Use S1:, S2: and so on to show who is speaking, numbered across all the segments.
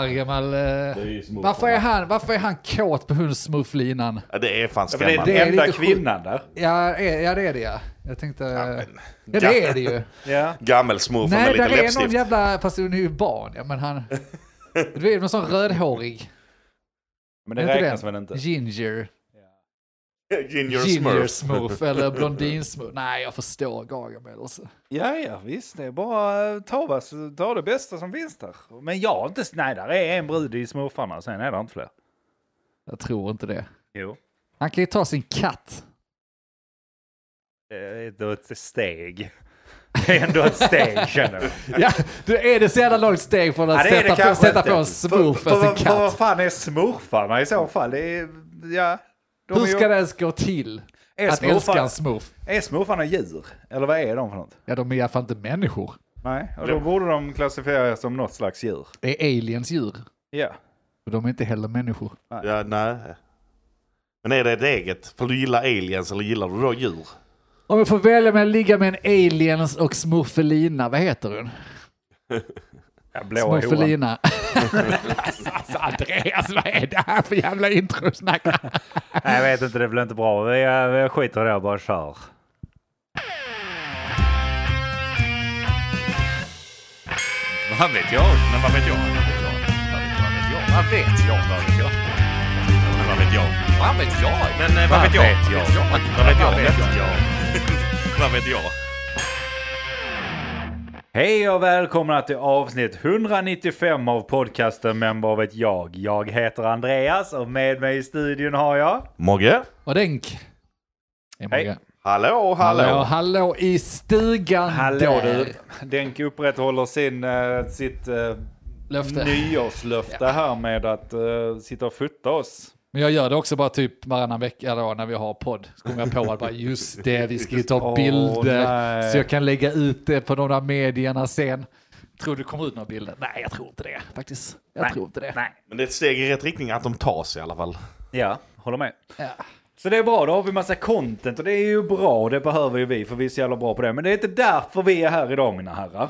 S1: Gargamel. eh,
S2: Det är ju smurfarna.
S1: varför, är han, varför är han kåt på hundsmurflinan?
S3: Ja, det är fan
S2: Ja, men det är
S3: skrämmande.
S1: det är
S2: den enda
S1: lite sjukt.
S2: kvinnan där.
S1: Ja, är, ja, det är det ja. Jag tänkte... eh, Ja,
S3: men-
S1: det är det ju.
S2: Ja.
S3: Gammelsmurfen med
S1: Nej,
S3: lite
S1: där är någon
S3: läppstift.
S1: jävla... Fast hon är ju barn. Ja, men han... Det är någon sån rödhårig.
S2: Men
S1: Är
S2: det
S1: inte
S2: räknas
S1: det?
S2: väl inte?
S1: Ginger.
S3: Ginger
S1: Ginger
S3: smurf.
S1: smurf eller blondinsmurf. Nej, jag förstår Gargamel. Alltså.
S2: Ja, ja, visst. Det är bara eh, ta, vad- ta det bästa som finns där. Men jag har inte... Nej, där är en brud i smurfarna. Sen är det inte fler.
S1: Jag tror inte det.
S2: Jo.
S1: Han kan ju ta sin katt.
S2: Det är ändå ett steg. Det är ändå ett steg, känner jag.
S1: Ja, du är det så jävla långt steg från att
S2: Ja, det är det
S1: sätta, på,
S2: kanske
S1: sätta
S2: inte.
S1: på en smurf för sin
S2: vad- för vad
S1: katt.
S2: fan är smurfarna i så fall? Det är, ja, de
S1: Hur
S2: är ju-
S1: ska det ens gå till
S2: Är
S1: att
S2: smurfar-
S1: älska en smurf?
S2: Är smurfarna djur? Eller vad är de för något?
S1: Ja, de är i alla fall inte människor.
S2: Nej, och då borde de klassificeras som något slags djur.
S1: Det är aliens djur.
S2: Ja.
S1: Och de är inte heller människor.
S3: Ja, nej. Men är det ett eget? För du gillar aliens eller gillar du då djur?
S1: Om jag får välja mellan att ligga med en aliens och smurfelina, vad heter hon?
S2: ja blåa horan.
S1: Smurfelina. alltså Andreas, vad är det här för jävla introsnack?
S2: Nej, jag vet inte, det blir inte bra. Vi, eh, vi skiter i det och bara kör.
S4: Vad vet jag? Men vad vet jag? Vad vet jag? Vad vet jag? Vad vet jag?
S3: Men vad
S4: Vad vet jag? Men eh, vad vet
S3: vet jag? Vad
S4: jag?
S3: vet jag?
S4: Vad vet jag?
S3: Vad vet jag?
S4: Vad vet jag?
S2: Hej och välkomna till avsnitt 195 av podcasten Member av ett jag. Jag heter Andreas och med mig i studion har jag...
S3: Mogge?
S1: Och Denk. Är
S2: Hej.
S1: många.
S3: Hallå, hallå.
S1: Hallå, hallå i stugan
S2: Hallå
S1: där.
S2: du! Denk upprätthåller sin, eh, sitt eh,
S1: Löfte.
S2: nyårslöfte här med att eh, sitta och futta oss.
S1: Men jag gör det också bara typ varannan vecka då när vi har podd. Så kommer jag på att bara just det, vi ska ju ta
S2: Åh,
S1: bilder
S2: nej.
S1: så jag kan lägga ut det på de där medierna sen. Tror du det kommer ut några bilder? Nej, jag tror inte det faktiskt. Jag tror inte det.
S2: Nej.
S3: Men det är ett steg i rätt riktning att de tas i alla fall.
S2: Ja, håller med.
S1: Ja.
S2: Så det är bra, då har vi massa content och det är ju bra, det behöver ju vi för vi är så jävla bra på det. Men det är inte därför vi är här idag mina herrar.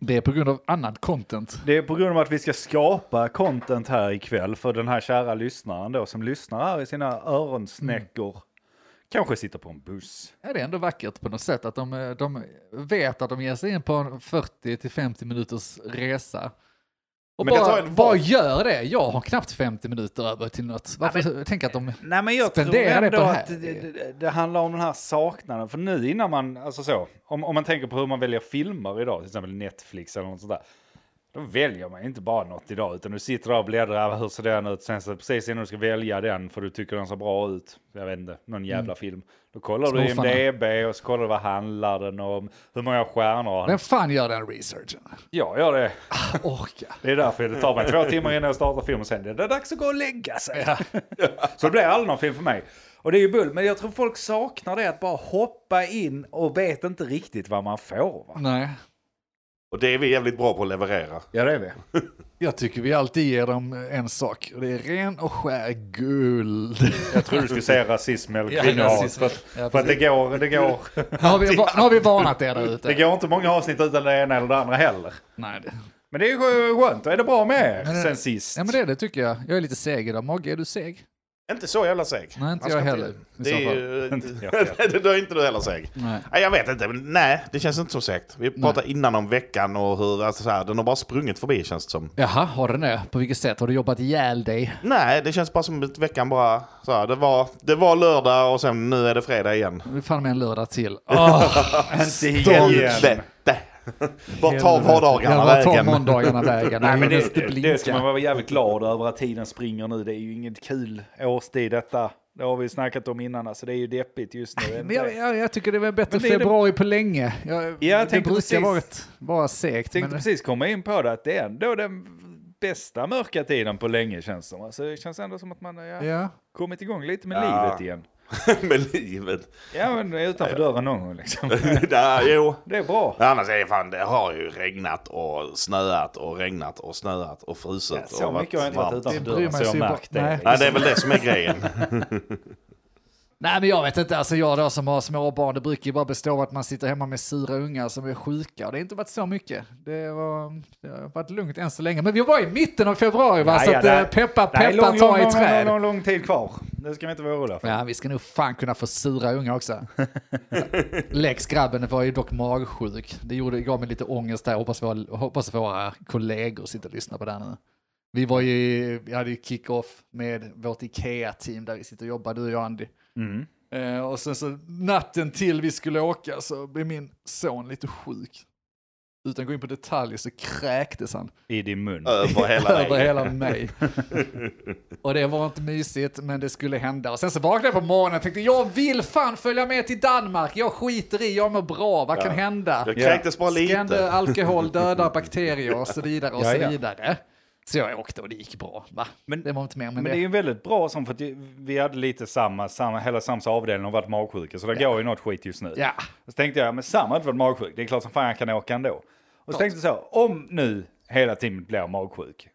S1: Det är på grund av annat content.
S2: Det är på grund av att vi ska skapa content här ikväll för den här kära lyssnaren då som lyssnar här i sina öronsnäckor. Kanske sitter på en buss.
S1: Ja, det är ändå vackert på något sätt att de, eh, de vet att de ger sig in på en 40 till 50 minuters resa. Och
S3: Men det
S1: bara,
S3: tar en-
S1: bara gör det. Jag har knappt 50 minuter över till något. Varför tänk att de...
S2: Nej men jag tror
S1: Spendera det
S2: ändå
S1: på det här.
S2: att det, det, det handlar om den här saknaden. För nu innan man, alltså så, om, om man tänker på hur man väljer filmer idag, till exempel Netflix eller något sånt där. Då väljer man inte bara något idag, utan du sitter där och bläddrar, hur ser den ut? Sen så precis innan du ska välja den, för du tycker den ser bra ut, jag vet inte, någon
S1: Mm.
S2: jävla film. Då kollar du
S1: Småfarna.
S2: IMDB och så kollar du vad handlar den om, hur många stjärnor har den?
S1: Vem fan gör den researchen?
S2: Jag gör det.
S1: Orka.
S2: Det är därför det tar mig två timmar innan jag startar filmen. Sen är det dags att gå och lägga sig. Så det blir aldrig någon film för mig. Och det är ju bull, men jag tror folk saknar det att bara hoppa in och vet inte riktigt vad man får. Va?
S1: Nej.
S3: Och det är vi jävligt bra på att leverera.
S2: Ja, det är vi.
S1: Jag tycker vi alltid ger dem en sak. Och det är ren och skär guld.
S2: Jag tror du skulle säga rasism eller
S1: Ja,
S2: kvinnohat.
S1: rasism.
S2: För, att-
S1: Ja,
S2: för att det går, det, går,
S1: Nu har vi, nu har vi varnat er där
S2: det
S1: ute.
S2: går inte många avsnitt utan det ena eller det andra heller.
S1: Nej, det,
S2: Men det är ju skönt, då är det bra med er
S1: Men-
S2: sen sist.
S1: ja, men det, är det tycker jag. Jag är lite seg idag. Mogge, är du seg?
S3: Inte så jävla seg.
S1: Nej, inte jag
S3: Man ska
S1: heller. I
S3: Det
S1: så
S3: är
S1: fall.
S3: ju...
S2: Inte jag heller.
S3: det är inte du heller seg.
S1: Nej.
S3: Nej, jag vet inte. Men nej, det känns inte så segt. Vi pratade innan om veckan och hur... Alltså så här, den har bara sprungit förbi känns det som.
S1: Jaha, har den det? På vilket sätt? Har du jobbat ihjäl dig?
S3: Nej, det känns bara som att veckan bara... Så här, det, var, det var lördag och sen nu är det fredag igen.
S1: Nu fan med en lördag till. Åh,
S2: Inte igen. igen.
S3: Helvete. Vart tar vardagarna
S1: ja, Vart tar
S3: vägen?
S1: måndagarna vägen?
S2: Nej, men
S1: måste
S2: det,
S1: blinka.
S2: det ska man vara jävligt glad över att tiden springer nu. Det är ju inget kul årstid detta. Det har vi snackat om innan, alltså det är ju deppigt just nu.
S1: Men jag, jag, jag tycker det var bättre
S2: Men det är det-
S1: februari på länge. Jag,
S2: jag
S1: det
S2: tänkte
S1: brukar
S2: precis-
S1: vara ett- vara segt.
S2: tänkte
S1: men-
S2: precis komma in på det, att det är ändå den bästa mörka tiden på länge känns det som. Alltså det känns ändå som att man har ja.
S1: Ja.
S2: kommit igång lite med
S3: Ja.
S2: livet igen.
S3: Med livet.
S2: Ja, men utanför dörren någon gång liksom.
S3: Ja, jo.
S2: Det är bra.
S3: Annars är det fan, det har ju regnat och snöat och regnat och snöat och frusit.
S2: Ja,
S3: och
S2: så
S3: varit
S2: mycket har jag inte varit
S3: varmt.
S2: utanför
S1: Det bryr
S2: dörren
S1: man
S2: så jag
S1: sig ju
S2: har märkt
S1: bara-
S2: det.
S1: nej.
S3: Nej, det är väl det som är grejen.
S1: Nej men jag vet inte, alltså jag då som har småbarn, det brukar ju bara bestå av att man sitter hemma med sura ungar som är sjuka. Och det har inte varit så mycket. Det, var, det har varit lugnt än så länge. Men vi var i mitten av februari va, så att eh, peppa
S2: nej,
S1: peppa ta i
S2: lång,
S1: träd.
S2: lång, lång tid kvar. Det ska vi inte vara oroliga för.
S1: Ja, vi ska nog fan kunna få sura unga också. Lex grabben var ju dock magsjuk. Det gjorde, gav mig lite ångest där. Hoppas våra, hoppas våra kollegor sitter och lyssnar på det här nu. Vi var ju, vi hade ju kick-off med vårt Ikea-team där vi sitter och jobbar, du och jag Andy.
S2: Mm.
S1: Eh, och sen så natten till vi skulle åka så blev min son lite sjuk. Utan att gå in på detaljer så kräktes han
S2: I din mun.
S3: Över hela
S1: över
S3: vägen.
S1: hela mig. och det var inte mysigt, men det skulle hända. Och sen så vaknade jag på morgonen och tänkte, jag vill fan följa med till Danmark. Jag skiter i, jag mår bra, vad kan hända?
S3: Jag kräktes bara
S1: Skrämde
S3: lite.
S1: alkohol, döda bakterier och så vidare och
S2: Ja,
S1: så
S2: ja.
S1: vidare. Så jag åkte och det gick bra. Va?
S2: Men-
S1: det var inte mer med
S2: Men
S1: det.
S2: det är ju väldigt bra som för att vi hade lite samma, samma hela sams avdelning har varit magsjuka så det går ju något skit just nu.
S1: Ja.
S2: Och så tänkte jag, men Sam har inte varit magsjuk, det är klart som fan jag kan åka ändå. Och så tänkte jag så, om nu hela teamet blir magsjuk,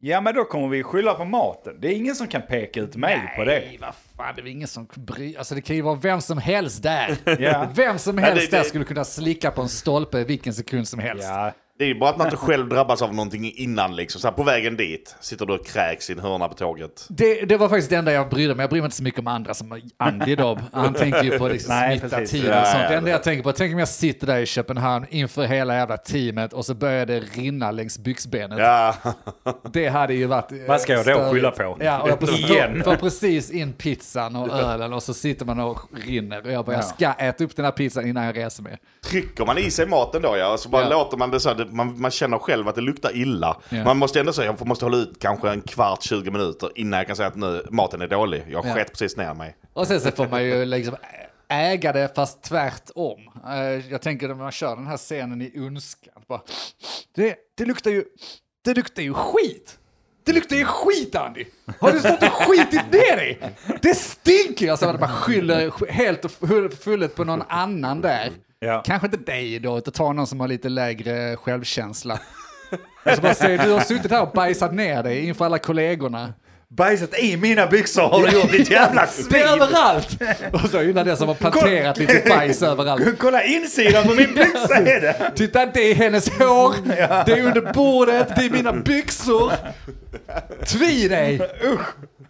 S2: ja men då kommer vi skylla på maten. Det är ingen som kan peka ut mig på det.
S1: Nej, vad fan, det är väl ingen som bryr Alltså det kan ju vara vem som helst där.
S2: Ja.
S1: Vem som helst
S3: det-
S1: där skulle kunna slicka på en stolpe vilken sekund som helst.
S2: Ja,
S3: Det är ju bara att man inte själv drabbas av någonting innan liksom. Så här, på vägen dit sitter du och kräks i en hörna på tåget.
S1: Det, det var faktiskt det enda jag brydde mig Jag bryr mig inte så mycket om andra som Andy då. Han tänker ju på liksom
S2: Nej,
S1: smitta
S2: precis.
S1: team
S3: Ja,
S1: och sånt.
S3: ja,
S1: Det enda jag tänker på, tänk om jag sitter där i Köpenhamn inför hela jävla teamet och så börjar det rinna längs byxbenet.
S3: Ja,
S1: Det hade ju varit eh,
S2: Vad ska jag då
S1: störigt.
S2: skylla på?
S1: Ja, och jag precis,
S2: Igen.
S1: Får, får precis in pizzan och ölen och så sitter man och rinner. Och jag bara, jag ska äta upp den här pizzan innan jag reser mig.
S3: trycker man i sig maten då ja, och så bara
S1: Ja.
S3: låter man det så här, det- man, man känner själv att det luktar illa.
S1: Ja.
S3: Man måste ändå säga, jag måste hålla ut kanske en kvart, 20 minuter innan jag kan säga att nu, maten är dålig. Jag har
S1: Ja.
S3: skett precis ner mig.
S1: Och sen så får man ju liksom äga det fast tvärtom. Eh, Jag tänker när man kör den här scenen i Ondskan. bara, Det, det, luktar ju, det luktar ju skit! Det luktar ju skit Andy! Har du stått och skitit ner dig? Det stinker ju! Alltså att man skyller helt och full- fullt på någon annan där.
S2: Ja.
S1: Kanske inte dig då, utan ta någon som har lite lägre självkänsla. Och så bara säger du har suttit här och bajsat ner dig inför alla kollegorna.
S2: Bajsat i mina byxor har du gjort ditt jävla
S1: Det är
S2: svin!
S1: överallt! Och så innan det som har planterat lite bajs överallt.
S2: Kolla insidan på min byxa är det!
S1: Titta, det är hennes hår, det är under bordet, det är mina byxor. Tvi dig!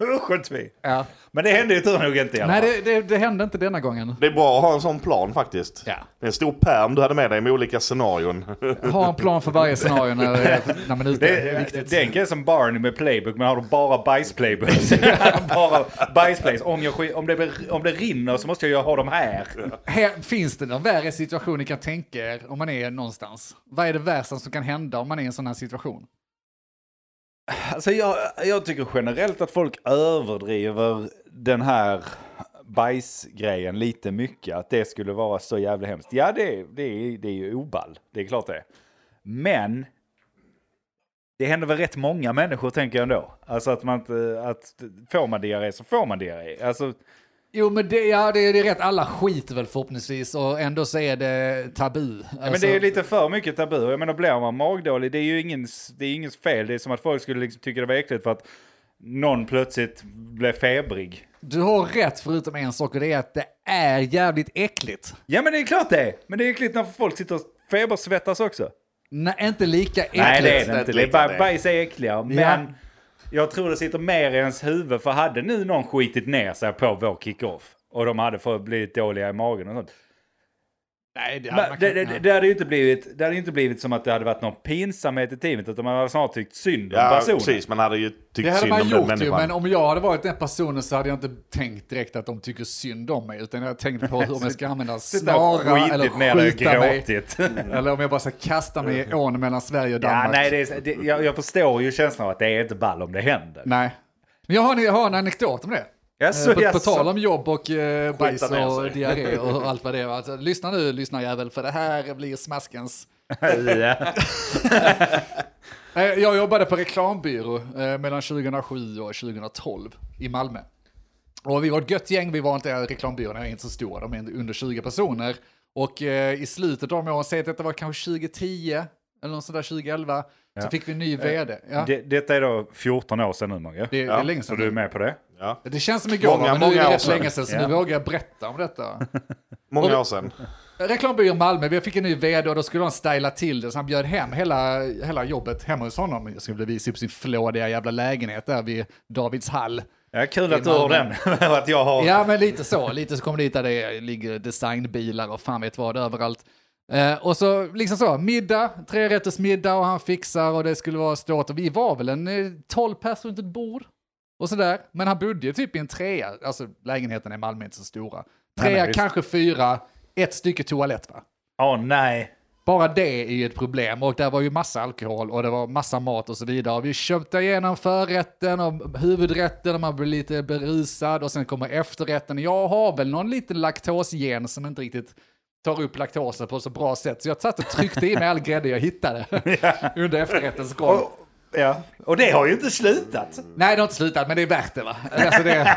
S2: Usch och tvi.
S1: Ja.
S2: Men det hände ju tur nog inte i alla
S1: Nej,
S2: fall.
S1: det, det, det hände inte denna gången.
S3: Det är bra att ha en sån plan faktiskt.
S1: Ja.
S3: Det är en stor pärm du hade med dig med olika scenarion.
S1: Ha en plan för varje scenario när, när man är ute. Det är
S2: Det,
S1: viktigt.
S2: den grejen som Barney med playbook, men har de bara bajsplaybook? bara bajsplays. Om, jag, sk- om, det, blir- om det rinner så måste jag ju ha dem här.
S1: Här, finns det någon värre situation ni kan tänka er om man är någonstans? Vad är det värsta som kan hända om man är i en sån här situation?
S2: Alltså jag, jag tycker generellt att folk överdriver den här bajsgrejen lite mycket. Att det skulle vara så jävla hemskt. Ja, det, det, är- det är ju oball. Det är klart det. Men det händer väl rätt många människor tänker jag ändå. Alltså att man inte, att får man diarré så får man diarré. Alltså,
S1: Jo, men det, ja, det, det är rätt. Alla skiter väl förhoppningsvis och ändå så är det tabu. Alltså,
S2: Men det är ju lite för mycket tabu. Jag menar, blir man magdålig, det är ju ingens, det är ingens fel. Det är som att folk skulle liksom tycka det var äckligt för att någon plötsligt blev febrig.
S1: Du har rätt förutom en sak och det är att det är jävligt äckligt.
S2: Ja, men det är klart det är. Men det är äckligt när folk sitter och febersvettas också.
S1: Nej, inte lika äckligt.
S2: Nej, det är det inte.
S3: inte
S2: Det är
S3: lika
S2: bara,
S3: det.
S2: bajs är äckligare. Men
S1: Ja.
S2: jag tror det sitter mer i ens huvud. För hade nu någon skitit ner sig på vår kick-off och de hade fått blivit dåliga i magen och sånt.
S1: Nej, det
S2: Men det, det, det hade ju inte blivit, det hade ju inte blivit som att det hade varit någon pinsamhet i teamet utan man hade snarare tyckt synd om
S3: Ja,
S2: personen.
S3: precis. Man hade ju tyckt
S1: hade
S3: synd
S1: man
S3: om den
S1: gjort ju,
S3: människan.
S1: men om jag hade varit den personen så hade jag inte tänkt direkt att de tycker synd om mig, utan jag tänkte på hur man ska använda
S2: Sitta och
S1: snara eller
S2: skitit ner dig och
S1: skjuta mig.
S2: gråtit.
S1: Eller om jag bara ska kasta mig i ån mellan Sverige och Danmark.
S2: Ja, nej, det är, det, jag, jag förstår ju känslan av att det är inte ball om det händer.
S1: Nej. Men jag har, en- jag har en anekdot om det.
S2: Jaså,
S1: Eh, på, på
S2: jaså.
S1: tal om jobb och eh, bajs
S3: Skita ner sig.
S1: och diarré och allt vad det är. Alltså, lyssna nu, lyssna jävel, för det här blir smaskens.
S2: Ja.
S1: Eh, Jag jobbade på reklambyrå eh, mellan 2007 och 2012 i Malmö. Och vi var ett gött gäng, vi var inte, reklambyrån är inte så stora, de är under 20 personer. Och eh, i slutet av de åren, säg att detta var kanske 2010, eller något sånt där 2011, så fick vi en ny vd. Ja, det,
S2: Det, detta är då 14 år sedan nu, Mange.
S1: det är länge
S2: så
S1: sedan.
S2: du är med på det?
S3: Ja.
S1: Det känns som igår,
S3: Många,
S1: men nu är
S3: många
S1: det
S3: år
S1: rätt
S3: sedan.
S1: länge sedan, så
S2: Ja.
S1: nu vågar jag berätta om detta.
S3: Många år sedan.
S1: Reklambyrån Malmö, vi fick en ny vd och då skulle han styla till det, så han bjöd hem hela, hela jobbet hemma hos honom. Jag skulle visa upp sin flådiga jävla lägenhet där vid Davidshall.
S2: Ja, kul att du har den. att jag har...
S1: Ja, men lite så. Lite så kommer dit där det ligger designbilar och fan vet vad överallt. Eh, och så liksom så, middag, trerättersmiddag och han fixar och det skulle vara stort. Och vi var väl en eh, 12 personer runt ett bord och sådär. Men han bodde ju typ i en trea, alltså lägenheten i Malmö är inte så stora. Trea,
S2: nej, visst.
S1: kanske fyra, ett stycke toalett va?
S2: Åh nej.
S1: Bara det är ju ett problem och där var ju massa alkohol och det var massa mat och så vidare. Och vi köpte igenom förrätten och huvudrätten och man blir lite berusad och sen kommer efterrätten. Jag har väl någon liten laktosgen som inte riktigt tar upp laktosen på så bra sätt så jag satt och tryckte i mig all grädde jag hittade under efterrättens gång.
S2: Och, ja. och det har ju inte slutat.
S1: Nej, det har inte slutat, men det är värt det va? Alltså det,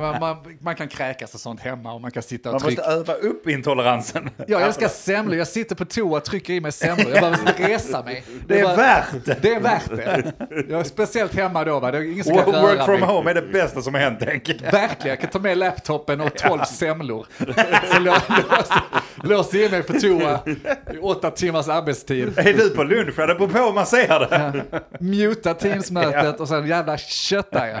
S1: man, man, man kan kräkas och sånt hemma och man kan sitta och
S2: Man
S1: trycka.
S2: måste öva upp intoleransen.
S1: Jag älskar semlor, jag sitter på toa och trycker i mig semlor. Jag behöver resa mig.
S2: Det är
S1: bara-
S2: värt det.
S1: Det är värt det. Jag är speciellt hemma då, va? Det är ingen som kan röra
S2: Work from
S1: mig.
S2: home är det bästa som har hänt, tänker jag.
S1: Verkligen, jag kan ta med laptopen och 12 semlor. Så lå- lås- lås in mig på toa i åtta timmars arbetstid.
S2: Är du på lunch? Ja, det beror på hur man ser det.
S1: Muta Teams-mötet och sen jävla köttar jag.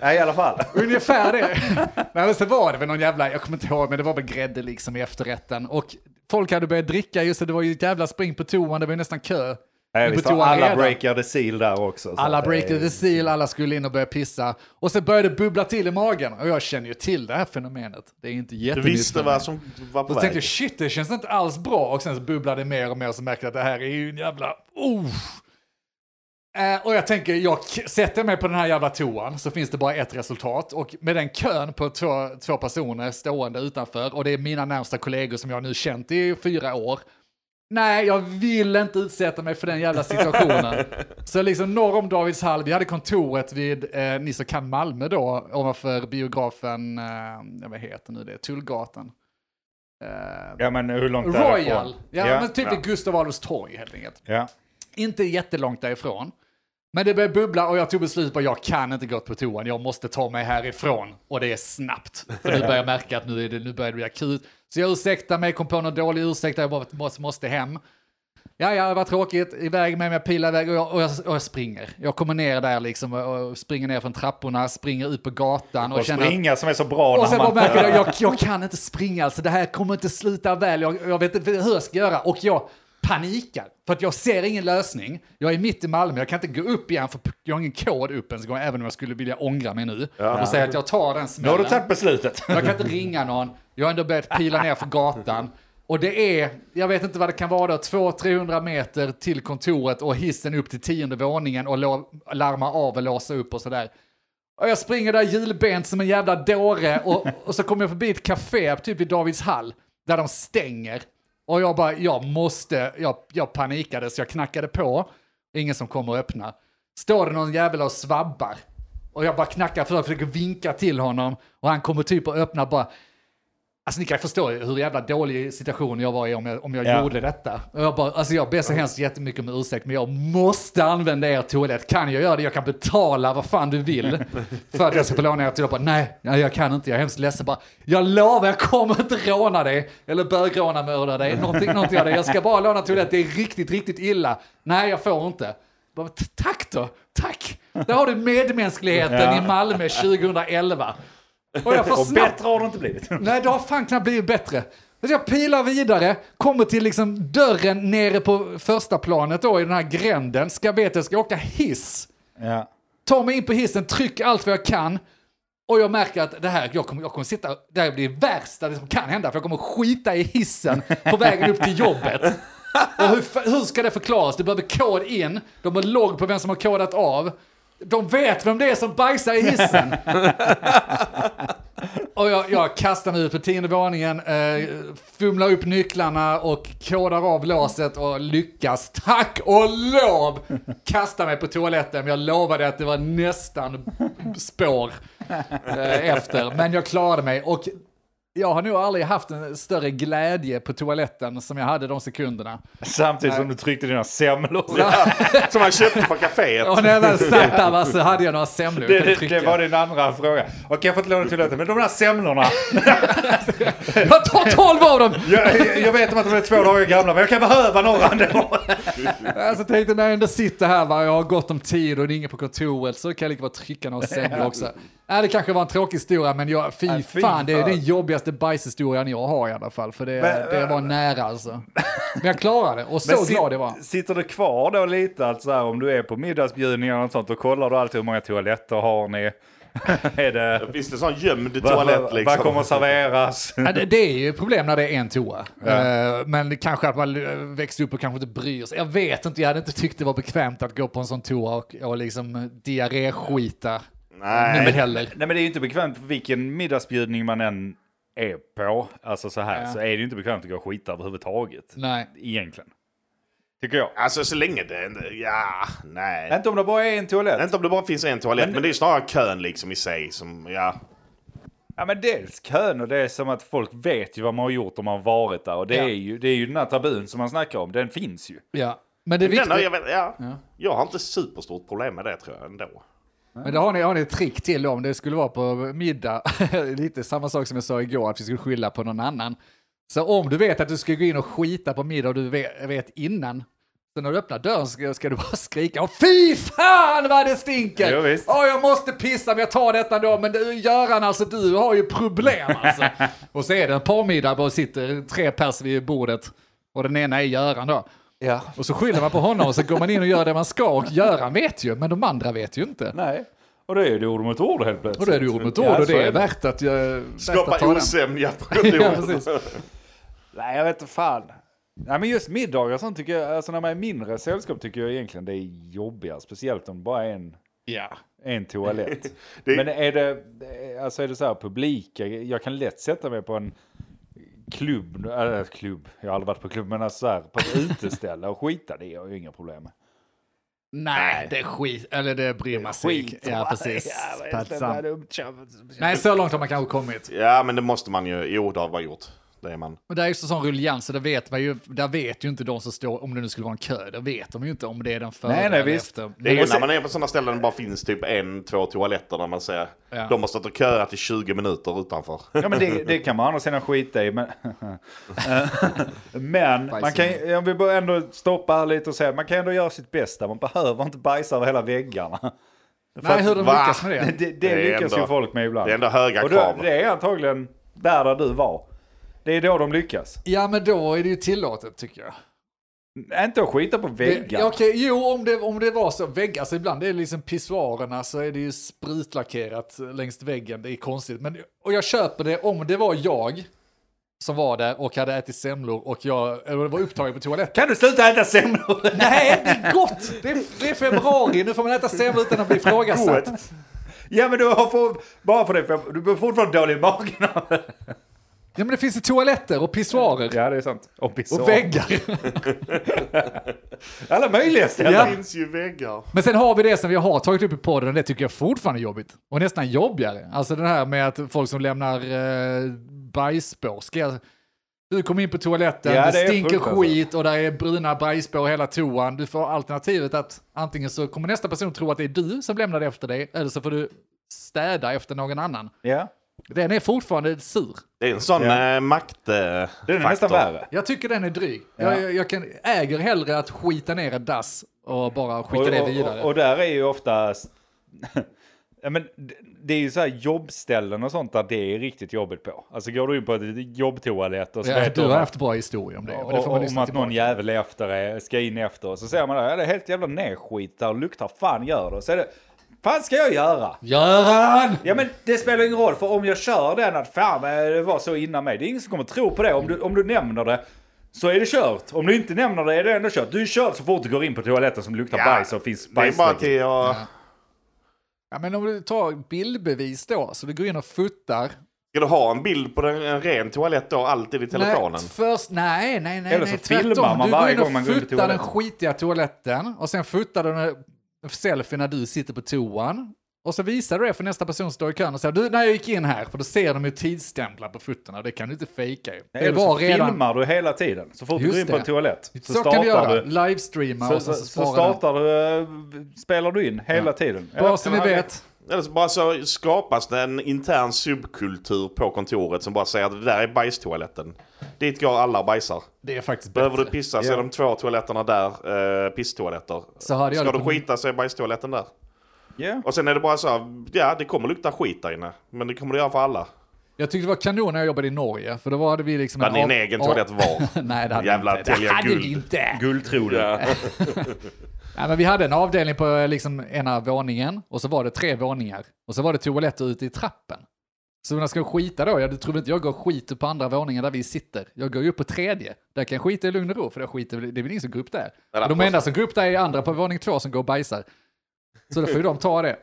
S2: Ja, i alla fall.
S1: Ungefär det. Nej, men så var det väl någon jävla, jag kommer inte ihåg, men det var väl grädde liksom i efterrätten. Och folk hade börjat dricka, just det, det var ju ett jävla spring på toan, det var ju nästan kö.
S2: Ja,
S1: In på
S2: visst, för
S1: toan
S2: alla
S1: redan.
S2: breakar the seal där också. så
S1: Alla
S2: att det är-
S1: breakade the seal, alla skulle in och börja pissa. Och så började det bubbla till i magen. Och jag känner ju till det här fenomenet. Det är inte
S3: Du
S1: jättenytt.
S3: visste
S1: för mig.
S3: vad som var på
S1: Och så tänkte jag,
S3: väg.
S1: shit, det känns inte alls bra. Och sen så bubblade det mer och mer och så märkte jag att det här är ju en jävla... Oh. Eh, och jag tänker, jag k- sätter mig på den här jävla toan så finns det bara ett resultat. Och med den kön på två, två personer stående utanför och det är mina närmsta kollegor som jag nu känt i fyra år. Nej, jag vill inte utsätta mig för den jävla situationen. så liksom norr om Davids hall, vi hade kontoret vid, eh, ni som kan Malmö då, ovanför biografen, eh, vad heter nu det, Tullgatan. Eh,
S2: Ja, men hur långt
S1: Royal,
S2: därifrån?
S1: ja, men typ vid Gustav Adolfs torg helt enkelt
S2: ja.
S1: inte jättelångt därifrån. Men det började bubbla och jag tog beslutet att jag kan inte gå på toan, jag måste ta mig härifrån. Och det är snabbt. För nu börjar jag märka att nu, är det, nu börjar det bli akut. Så jag ursäktar mig, kom på någon dålig ursäkt, jag bara måste, måste hem. Ja, ja, det var tråkigt, iväg med mig, jag pilar iväg och jag, och, jag, och jag springer. Jag kommer ner där liksom och och springer ner från trapporna, springer ut på gatan och,
S2: Och
S1: känner att
S2: springa som är så bra
S1: och
S2: när
S1: sen bara
S2: man...
S1: märker jag, jag, jag kan inte springa alltså, det här kommer inte sluta väl, jag, jag vet inte hur jag ska göra. Och jag panikar, för att jag ser ingen lösning. Jag är mitt i Malmö, jag kan inte gå upp igen, för jag har ingen kod upp ens, en gång, även om jag skulle vilja ångra mig nu. Och säga att jag tar den
S2: Nu har
S1: smällen.
S2: du tagit beslutet.
S1: Jag kan inte ringa någon, jag har ändå börjat pila ner för gatan. Och det är, jag vet inte vad det kan vara, 200-300 meter till kontoret och hissen upp till tionde våningen och lå- larma av och låsa upp och sådär. Och jag springer där julbent som en jävla dåre och, och så kommer jag förbi ett café typ i Davids hall där de stänger. Och jag bara, jag måste, jag, jag panikade så jag knackade på. Ingen som kommer att öppna. Står det någon jävel och svabbar. Och jag bara knackar för och försöker vinka till honom. Och han kommer typ och öppnar bara. Alltså ni kan förstå hur jävla dålig situation jag var i om jag, om jag
S2: Ja.
S1: gjorde detta. Och jag bara, alltså jag ber så hemskt jättemycket om ursäkt men jag måste använda er toalett. Kan jag göra det? Jag kan betala vad fan du vill. För att jag ska få låna er toalett. Jag bara, Nej, nej, jag kan inte. Jag är hemskt ledsen. Bara, jag lovar, jag kommer inte råna dig. Eller bögråna, mörda dig. Någonting, någonting av det. Jag ska bara låna toalett. Det är riktigt, riktigt illa. Nej, jag får inte. Bara, "T- Tack då, tack. Där har du medmänskligheten
S2: Ja.
S1: i Malmö 2011. Och jag får
S2: Och
S1: snabbt
S2: bättre har det inte blivit.
S1: Nej, det har fan knappt blivit bättre. Så jag pilar vidare, kommer till liksom dörren nere på första planet då i den här gränden. Ska veta, jag ska åka hiss.
S2: Ja.
S1: Tar mig in på hissen, trycker allt vad jag kan. Och jag märker att det här, jag kommer, jag kommer sitta, det här blir det värsta det som kan hända. För jag kommer skita i hissen på vägen upp till jobbet. Och hur, fa- hur ska det förklaras? Du behöver kod in, de har logg på vem som har kodat av. De vet vem det är som bajsar i hissen. Och jag, jag kastar mig ut på tionde våningen, eh, fumlar upp nycklarna och kodar av låset och lyckas, tack och lov, kasta mig på toaletten. Men jag lovade att det var nästan spår eh, efter. Men jag klarade mig och Jag har nog aldrig haft en större glädje på toaletten som jag hade de sekunderna.
S2: Samtidigt som du tryckte dina semlor.
S3: Som han köpte på kaféet.
S1: Och när jag väl satt där va, så hade jag några semlor jag
S2: Det,
S1: kunde
S2: det, det
S1: trycka.
S2: var din andra fråga. Okej, jag får inte låna toaletten, men de där semlorna.
S1: Jag tar tolv av dem!
S2: Jag, jag- jag vet om att de är två dagar gamla, men jag kan behöva några ändå.
S1: Alltså tänkte när jag ändå sitter här va, jag har gott om tid och det är ingen på kontoret så kan jag lika bra trycka några semlor också. Nej, det kanske var en tråkig historia men jag, fy,
S2: Nej, fy
S1: fan, det är
S2: fan.
S1: den jobbigaste bajshistorien jag har i alla fall. För det,
S2: Men-
S1: det var nära alltså. Men jag klarade det, och så
S2: Men sit-
S1: glad jag var.
S2: Sitter du kvar då lite, alltså här, om du är på middagsbjudningar och något sånt, då kollar du alltid hur många toaletter har ni? är det...
S3: Finns det sån gömd
S2: Vad,
S3: toalett
S2: vad,
S3: liksom?
S2: vad kommer serveras?
S1: Ja, det, det är ju ett problem när det är en toa. Eh, Men kanske att man eh, växte upp och kanske inte bryr sig. Jag vet inte, jag hade inte tyckt det var bekvämt att gå på en sån toa och, och liksom diarréskita.
S3: Nej.
S1: Men heller.
S2: Nej men det är ju inte bekvämt på vilken middagsbjudning man än är på, alltså så här, så är det ju inte bekvämt att gå och skita överhuvudtaget.
S1: Nej.
S2: Egentligen. Tycker jag.
S3: Alltså så länge det inte... Ja, nej.
S2: Inte om det bara är en toalett.
S3: Inte om det bara finns en toalett, men, det är ju snarare kön liksom i sig som, ja.
S2: Ja men dels kön och det är som att folk vet ju vad man har gjort om man har varit där. Och det,
S1: Ja.
S2: är, ju, det är ju den här tabun som man snackar om, den finns ju.
S1: Ja. Men det är
S3: Den, har
S1: viktigt.
S3: jag, vet, ja. jag har inte superstort problem med det tror jag ändå.
S1: Men det har ni, har ni ett trick till om det skulle vara på middag. Lite samma sak som jag sa igår, att vi skulle skylla på någon annan. Så om du vet att du ska gå in och skita på middag och du ve- vet innan, så när du öppnar dörren ska, ska du bara skrika "Åh, Fy fan vad det stinker!
S2: Jo, visst.
S1: Åh, jag måste pissa men jag tar detta då. Men du, Göran alltså, du har ju problem alltså. och så är det en parmiddag och sitter tre pers vid bordet och den ena är Göran då.
S2: Ja.
S1: Och så skyller man på honom och så går man in och gör det man ska och Göran vet ju, men de andra vet ju inte.
S2: Nej. Och då är det ord mot ord helt
S1: Och
S2: plötsligt.
S1: då är det ord mot ord
S2: Ja,
S1: och
S2: så
S1: det är
S2: är det.
S1: värt att jag... värt att
S3: Skapa
S1: ta den.
S3: osämja på
S1: Ja,
S3: kontoret.
S1: precis.
S2: Nej jag vet inte fan. Nej men just middagar och sånt tycker jag, alltså när man är mindre sällskap tycker jag egentligen det är jobbigare. Speciellt om det bara är en,
S1: Ja.
S2: en toalett.
S3: Det-
S2: Men är det, alltså är det så här publika, jag kan lätt sätta mig på en klubb, äh, klubb, jag har aldrig varit på klubb, men alltså så här, på ett uteställe och skita, det har jag inga problem med.
S1: Nej, det är skit. Eller det bryr man sig inte. Ja, precis. Padsan.
S2: Nej.
S1: Nej, så långt har man kanske kommit.
S3: Ja, men det måste man ju. Jo, det har man gjort. Det är man.
S1: Men det är ju så sån ruljans, så det vet man ju. Där vet ju inte de som står, om det nu skulle vara en kö, där vet de ju inte om det är den före
S2: Nej, nej,
S1: eller
S2: visst.
S1: efter.
S3: Det är ju
S2: Och sen-
S3: när man är på sådana ställen där det bara finns typ en, två toaletter där man ser.
S1: Ja.
S3: De har stått och köat i 20 minuter utanför.
S2: Ja men det, det kan man å andra sidan skita i. Men, men man kan, ju- om vi bara ändå stoppa här lite och säga, man kan ändå göra sitt bästa. Man behöver inte bajsa över hela väggarna. För
S1: Nej,
S2: att-
S1: hur de
S3: va?
S1: lyckas med det.
S2: Det, det,
S3: är
S2: lyckas
S3: ändå-
S2: ju folk med ibland.
S3: det är ändå höga
S2: och då,
S3: krav.
S2: Det är antagligen där, där du var. Det är då de lyckas.
S1: Ja, men då är det ju tillåtet tycker jag.
S2: Inte att skita på väggar.
S1: Ja, Okej, jo om det, om det var så, väggar, så ibland det är liksom pissoarerna så är det ju spritlackerat längs väggen, det är konstigt. Men, och jag köper det om det var jag som var där och hade ätit semlor och jag eller var upptagen på toaletten.
S2: Kan du sluta äta semlor?
S1: Nej, det är gott! Det är, det är februari, nu får man äta semlor utan att bli ifrågasatt.
S2: ja men du har fått, bara för det, för du blir fortfarande dålig i magen.
S1: Ja men det finns ju toaletter och pissoarer.
S2: ja det är sant. Och,
S1: Och
S2: och
S1: väggar.
S2: Alla möjliga ställen.
S1: Ja.
S3: Det finns ju väggar.
S1: Men sen har vi det som vi har tagit upp i podden och det tycker jag fortfarande är jobbigt. Och nästan jobbigare. Alltså det här med att folk som lämnar eh, bajsspår. Ska jag, du kom in på toaletten,
S2: Ja,
S1: det,
S2: det är
S1: stinker
S2: fruktansvärt.
S1: skit och där är bruna bajsspår hela toan. Du får alternativet att antingen så kommer nästa person tro att det är du som lämnade efter dig eller så får du städa efter någon annan.
S2: Ja.
S1: Den är fortfarande sur.
S3: Det är en sån
S2: Ja.
S3: eh, makt... Eh,
S2: Det är
S3: faktor.
S2: nästan värre.
S1: Jag tycker den är dryg.
S2: Ja.
S1: Jag, jag kan, äger hellre att skita ner ett dass och bara skicka det vidare.
S2: Och, och där är ju oftast... ja, men det- det är ju så här jobbställen och sånt där det är riktigt jobbigt på. Alltså går du in på ett jobbtoalett och så
S1: ja,
S2: vet
S1: du
S2: om
S1: har
S2: att-
S1: haft bra historia om det. men det
S2: och,
S1: får man
S2: och, om
S1: lyssna
S2: att någon
S1: tillbaka.
S2: jävel är efter er, ska in efter och så ser man det, ja, det är helt jävla nerskit där och luktar fan gör det. Och så är det, fan ska jag göra?
S1: Göran!
S2: Ja men det spelar ingen roll för om jag kör den att fan eh, det var så innan mig. Det är ingen som kommer tro på det. Om du, om du nämner det så är det kört. Om du inte nämner det är det ändå kört. Du är körd så fort du går in på toaletten som luktar
S3: Ja,
S2: bajs och finns
S3: Det är bara
S2: bajsdräkt.
S3: till att...
S1: Ja, men om du tar bildbevis då, så du går in och fotar.
S3: Ska du ha en bild på den, en ren toalett då, alltid i telefonen?
S1: Nej, först, nej, nej, nej.
S2: Eller så
S1: nej,
S2: filmar
S1: tvärtom.
S2: man
S1: du går
S2: varje
S1: in och
S2: gång man går in på
S1: fotar den
S2: toaletten.
S1: skitiga toaletten och sen fotar du en selfie när du sitter på toan. Och så visar du det för nästa person som står i kön och säger du, när jag gick in här, för då ser de ju tidsstämplar på fötterna, det kan du inte fejka ju.
S2: Eller så filmar du hela tiden. Så fort du
S1: Just
S2: går in på en
S1: det.
S2: toalett
S1: Så,
S2: så,
S1: kan du
S2: startar
S1: göra,
S2: du.
S1: livestreama
S2: Så,
S1: och
S2: så,
S1: sen så,
S2: så
S1: svarar du.
S2: startar du, eh, spelar du in hela tiden.
S1: Bara så ni
S3: Eller-
S1: vet.
S3: Eller så bara så skapas det en intern subkultur på kontoret som bara säger att det där är bajstoaletten. Dit går alla och bajsar.
S1: Det är faktiskt
S3: Behöver du
S1: bättre.
S3: pissa så är de två toaletterna där, eh, pisstoaletter.
S1: Så hade jag
S3: Ska
S1: det
S3: du
S1: på-
S3: skita så är bajstoaletten där.
S2: Ja.
S3: Och sen är det bara så här, ja det kommer lukta skit där inne. Men det kommer det göra för alla.
S1: Jag tyckte det var kanon när jag jobbade i Norge, för då hade vi liksom...
S3: Hade ni en
S1: av-
S3: egen
S1: av-
S3: toalett var?
S1: Nej, det hade
S3: Jävla
S1: vi inte.
S3: Telia
S1: Det hade
S3: Guld.
S1: vi inte.
S2: Guldtroden.
S3: Ja.
S1: Nej, men vi hade en avdelning på eh, liksom, ena våningen och så var det tre våningar. Och så var det toaletter ute i trappen. Så när jag ska skita då, jag trodde inte jag går och skiter på andra våningen där vi sitter. Jag går ju upp på tredje. Där kan jag skita i lugn och ro, för jag skiter, väl- det är väl ingen som går upp där.
S3: där
S1: De
S3: på-
S1: enda som går upp där är andra på våning två som går och bajsar. Så då får ju de ta det.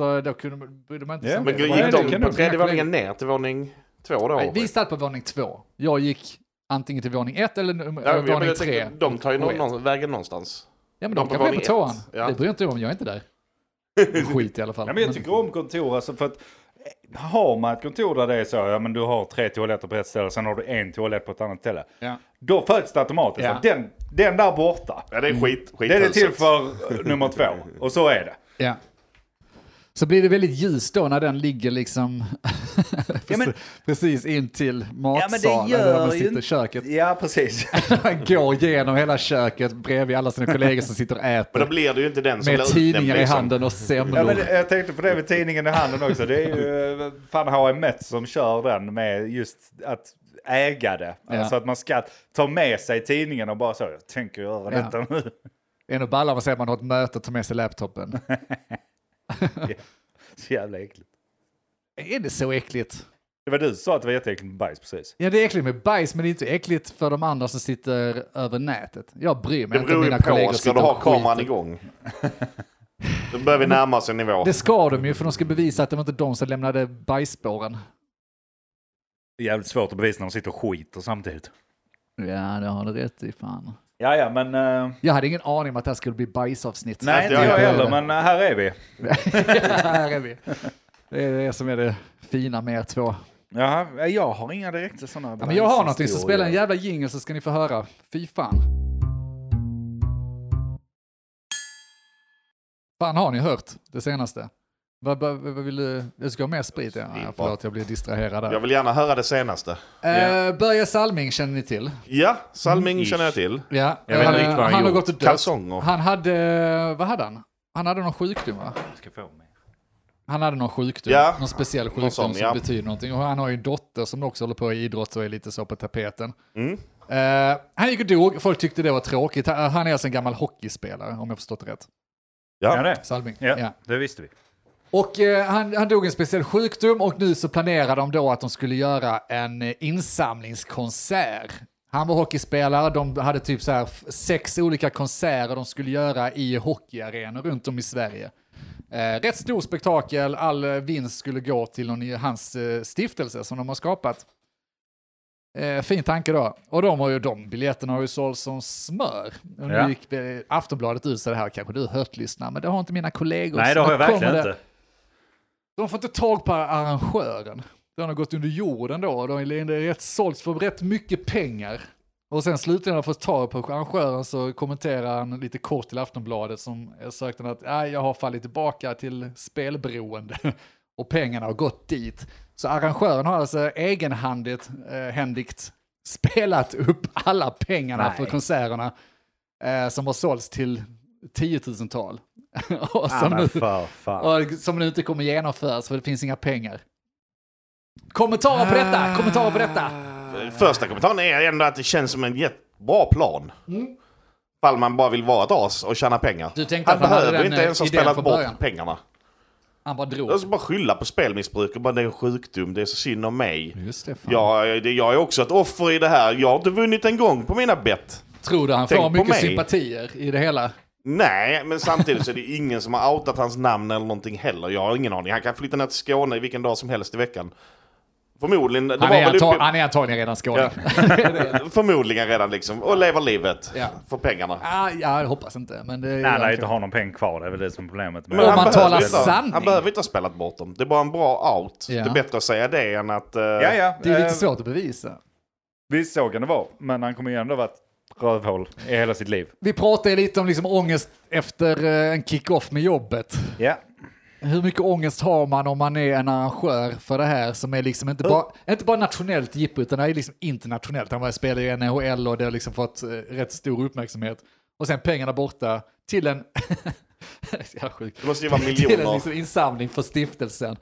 S1: Så då kunde, man- brydde man inte
S2: Ja,
S1: sig om
S3: Men
S1: det.
S2: Nej, det
S3: gick de
S2: kan
S3: på
S2: du-
S3: tredje våningen ner till våning två då?
S1: Nej, Vi satt på våning två. Jag gick antingen till våning ett eller num-
S3: Ja, men jag- men
S1: våning
S3: jag
S1: tre.
S3: tänker, de tar ju
S1: Jag vet.
S3: någon, någon, vägen någonstans.
S1: Ja men
S3: De
S1: de
S3: på
S1: kan vara på
S3: våning
S1: toan.
S3: ett, ja.
S1: Det bryr jag inte om, jag är inte där. Skit i alla fall.
S2: Ja, men jag tycker om kontor alltså för att eh, har man ett kontor där det är så, ja men du har tre toaletter på ett ställe, sen har du en toalett på ett annat ställe.
S1: Ja.
S2: Då föds det automatiskt.
S1: Ja.
S2: att Den, den där borta,
S3: Ja Mm. det är skit, alltså. skit
S2: den är till för eh, nummer två. Och så är det.
S1: Ja. Så blir det väldigt ljust då när den ligger liksom
S2: men-
S1: precis in till matsalen eller där man sitter i köket.
S2: Ja, precis.
S1: Man går igenom hela köket bredvid alla sina kollegor som sitter och
S3: Men då
S1: äter
S3: blir det ju inte den som
S1: med
S3: blir utnämnd.
S1: tidningar i
S3: liksom.
S1: handen och semlor.
S2: Ja, men jag tänkte på det med tidningen i handen också. Det är ju eh, fan H.M. Met som kör den med just att äga det.
S1: Ja.
S2: Alltså att man ska ta med sig tidningen och bara så, jag tänker göra
S1: Ja.
S2: detta nu.
S1: Det är ändå ballar om man säger att man har ett möte och tar med sig laptopen.
S2: Så jävla äckligt.
S1: är det så äckligt?
S2: Det var du som sa att det var jätteäckligt med bajs precis.
S1: Ja, det är äckligt med bajs, men det är inte äckligt för de andra som sitter över nätet. Jag bryr mig
S3: Det
S1: inte om
S3: beror ju
S1: mina kollegor
S3: på, ska du
S1: sitter
S3: ha
S1: och skiter.
S3: kameran igång? Då börjar vi närma oss en nivå.
S1: Det ska de ju, för de ska bevisa att det var inte de som lämnade bajsspåren.
S2: Det är jävligt svårt att bevisa när de sitter och skiter samtidigt.
S1: Ja, det har du rätt i. Fan.
S2: Ja, ja, men... eh,
S1: Jag hade ingen aning om att det här skulle bli bajsavsnitt.
S2: nej,
S3: att
S2: inte
S3: jag
S2: jag
S3: inte
S2: heller, men eh, här är vi.
S1: här är vi. Det är det som är det fina med er två.
S2: Jaha, jag har inga direkta sådana...
S1: Ja, men jag har någonting, så spela en jävla jingle så ska ni få höra. Fy fan. Fan, har ni hört det senaste? Vad, vad, vad vill du? Du ska ha mer sprit? Ja, Ja, förlåt, jag blir distraherad där.
S3: Jag vill gärna höra det senaste.
S1: Eh, Börje Salming känner ni till.
S3: Ja, Salming känner jag till.
S1: Ja,
S2: Jag vet
S1: han,
S2: inte riktigt vad han
S1: han har
S2: gjort.
S1: gått och dött.
S3: Kalsonger.
S1: Han hade, vad hade han? Han hade någon sjukdom va?
S2: Ska få mig.
S1: Han hade någon sjukdom,
S3: Ja,
S1: någon speciell sjukdom
S3: sån,
S1: som
S3: ja.
S1: betyder någonting. Och han har ju en dotter som också håller på i idrott och är lite så på tapeten.
S3: Mm.
S1: Eh, han gick och dog, folk tyckte det var tråkigt. Han han är alltså en gammal hockeyspelare om jag förstått det rätt.
S2: Ja,
S3: Ja.
S2: det.
S1: Salming.
S2: Ja,
S1: Ja.
S2: det visste vi.
S1: Och eh, han, han dog i en speciell sjukdom och nu så planerar de då att de skulle göra en eh, insamlingskonsert. Han var hockeyspelare, de hade typ så här f- sex olika konserter de skulle göra i hockeyarenor runt om i Sverige. Eh, rätt stor spektakel, all eh, vinst skulle gå till någon i hans eh, stiftelse som de har skapat. Eh, fin tanke då. Och de har ju de biljetterna har ju sålts som smör. Och nu
S2: Ja.
S1: gick eh, Aftonbladet ut så det här kanske du hört lyssna, men det har inte mina kollegor. Så
S2: Nej, det har jag
S1: kommer
S2: verkligen
S1: det-
S2: inte.
S1: de får inte tag på arrangören. Den har gått under jorden då. och De är rätt sålts för rätt mycket pengar. Och sen slutligen har de fått tag på arrangören så kommenterar han lite kort till Aftonbladet som sökte han att "Nej, jag har fallit tillbaka till spelberoende och pengarna har gått dit. Så arrangören har alltså egenhandigt eh, händigt spelat upp alla pengarna
S2: Nej.
S1: för konserterna eh, som har sålts till tiotusental. och
S2: Ah,
S1: som
S2: men
S1: nu
S2: för fan.
S1: och som nu inte kommer genomföras för det finns inga pengar. Kommentarer på detta! Kommentarer på detta!
S3: Första kommentaren är ändå att det känns som en jättebra plan. Ifall man bara vill vara ett as och tjäna pengar.
S1: Mm. Du tänkte
S3: Han
S1: att han hade
S3: behöver
S1: den,
S3: inte ens ha
S1: eh, idén
S3: spelat
S1: från
S3: bort
S1: början.
S3: pengarna.
S1: Han bara drog.
S3: Jag ska Alltså, bara skylla på spelmissbruk och bara det är en sjukdom, det är så synd om mig.
S1: Just det, fan.
S3: Jag, det- jag är också ett offer i det här. Jag har inte vunnit en gång på mina bett.
S1: Tror du han
S3: Tänk
S1: får
S3: på
S1: mycket
S3: mig.
S1: sympatier i det hela?
S3: Nej, men samtidigt så är det ingen som har outat hans namn eller någonting heller. Jag har ingen aning. Han kan flytta ner till Skåne vilken dag som helst i veckan. Förmodligen. det
S1: Han
S3: var
S1: är,
S3: väl
S1: antag-
S3: uppe-
S1: han är antagligen redan skadad. typ- Ja.
S3: Förmodligen redan liksom. Och lever livet.
S1: Ja.
S3: För pengarna.
S1: Ah, ja, jag hoppas inte. Men det
S2: Nej,
S1: jag
S2: nej, inte
S1: tror-
S2: har någon peng kvar. Det är väl det som är problemet.
S3: Men
S1: Om
S3: han
S1: man
S3: behöver
S1: talar
S3: inte-
S1: sanning.
S3: Han behöver inte ha spelat bort dem. Det är bara en bra out.
S1: Ja.
S3: Det är bättre att säga det än att... eh,
S2: ja, ja.
S1: det är ju lite
S2: eh,
S1: svårt att bevisa.
S2: Visst, så kan det vara. Men han kommer ju ändå vara ett rövhål i hela sitt liv.
S1: Vi pratade lite om liksom ångest efter eh, en kick-off med jobbet.
S2: Ja.
S1: Hur mycket ångest har man om man är en arrangör för det här som är liksom inte bara, inte bara nationellt jippo utan det är liksom internationellt. Han var spelar i NHL och det har liksom fått eh, rätt stor uppmärksamhet. Och sen pengarna borta till en... jag är sjuk.
S3: Det måste ju vara
S1: Till en
S3: miljoner.
S1: liksom insamling för stiftelsen.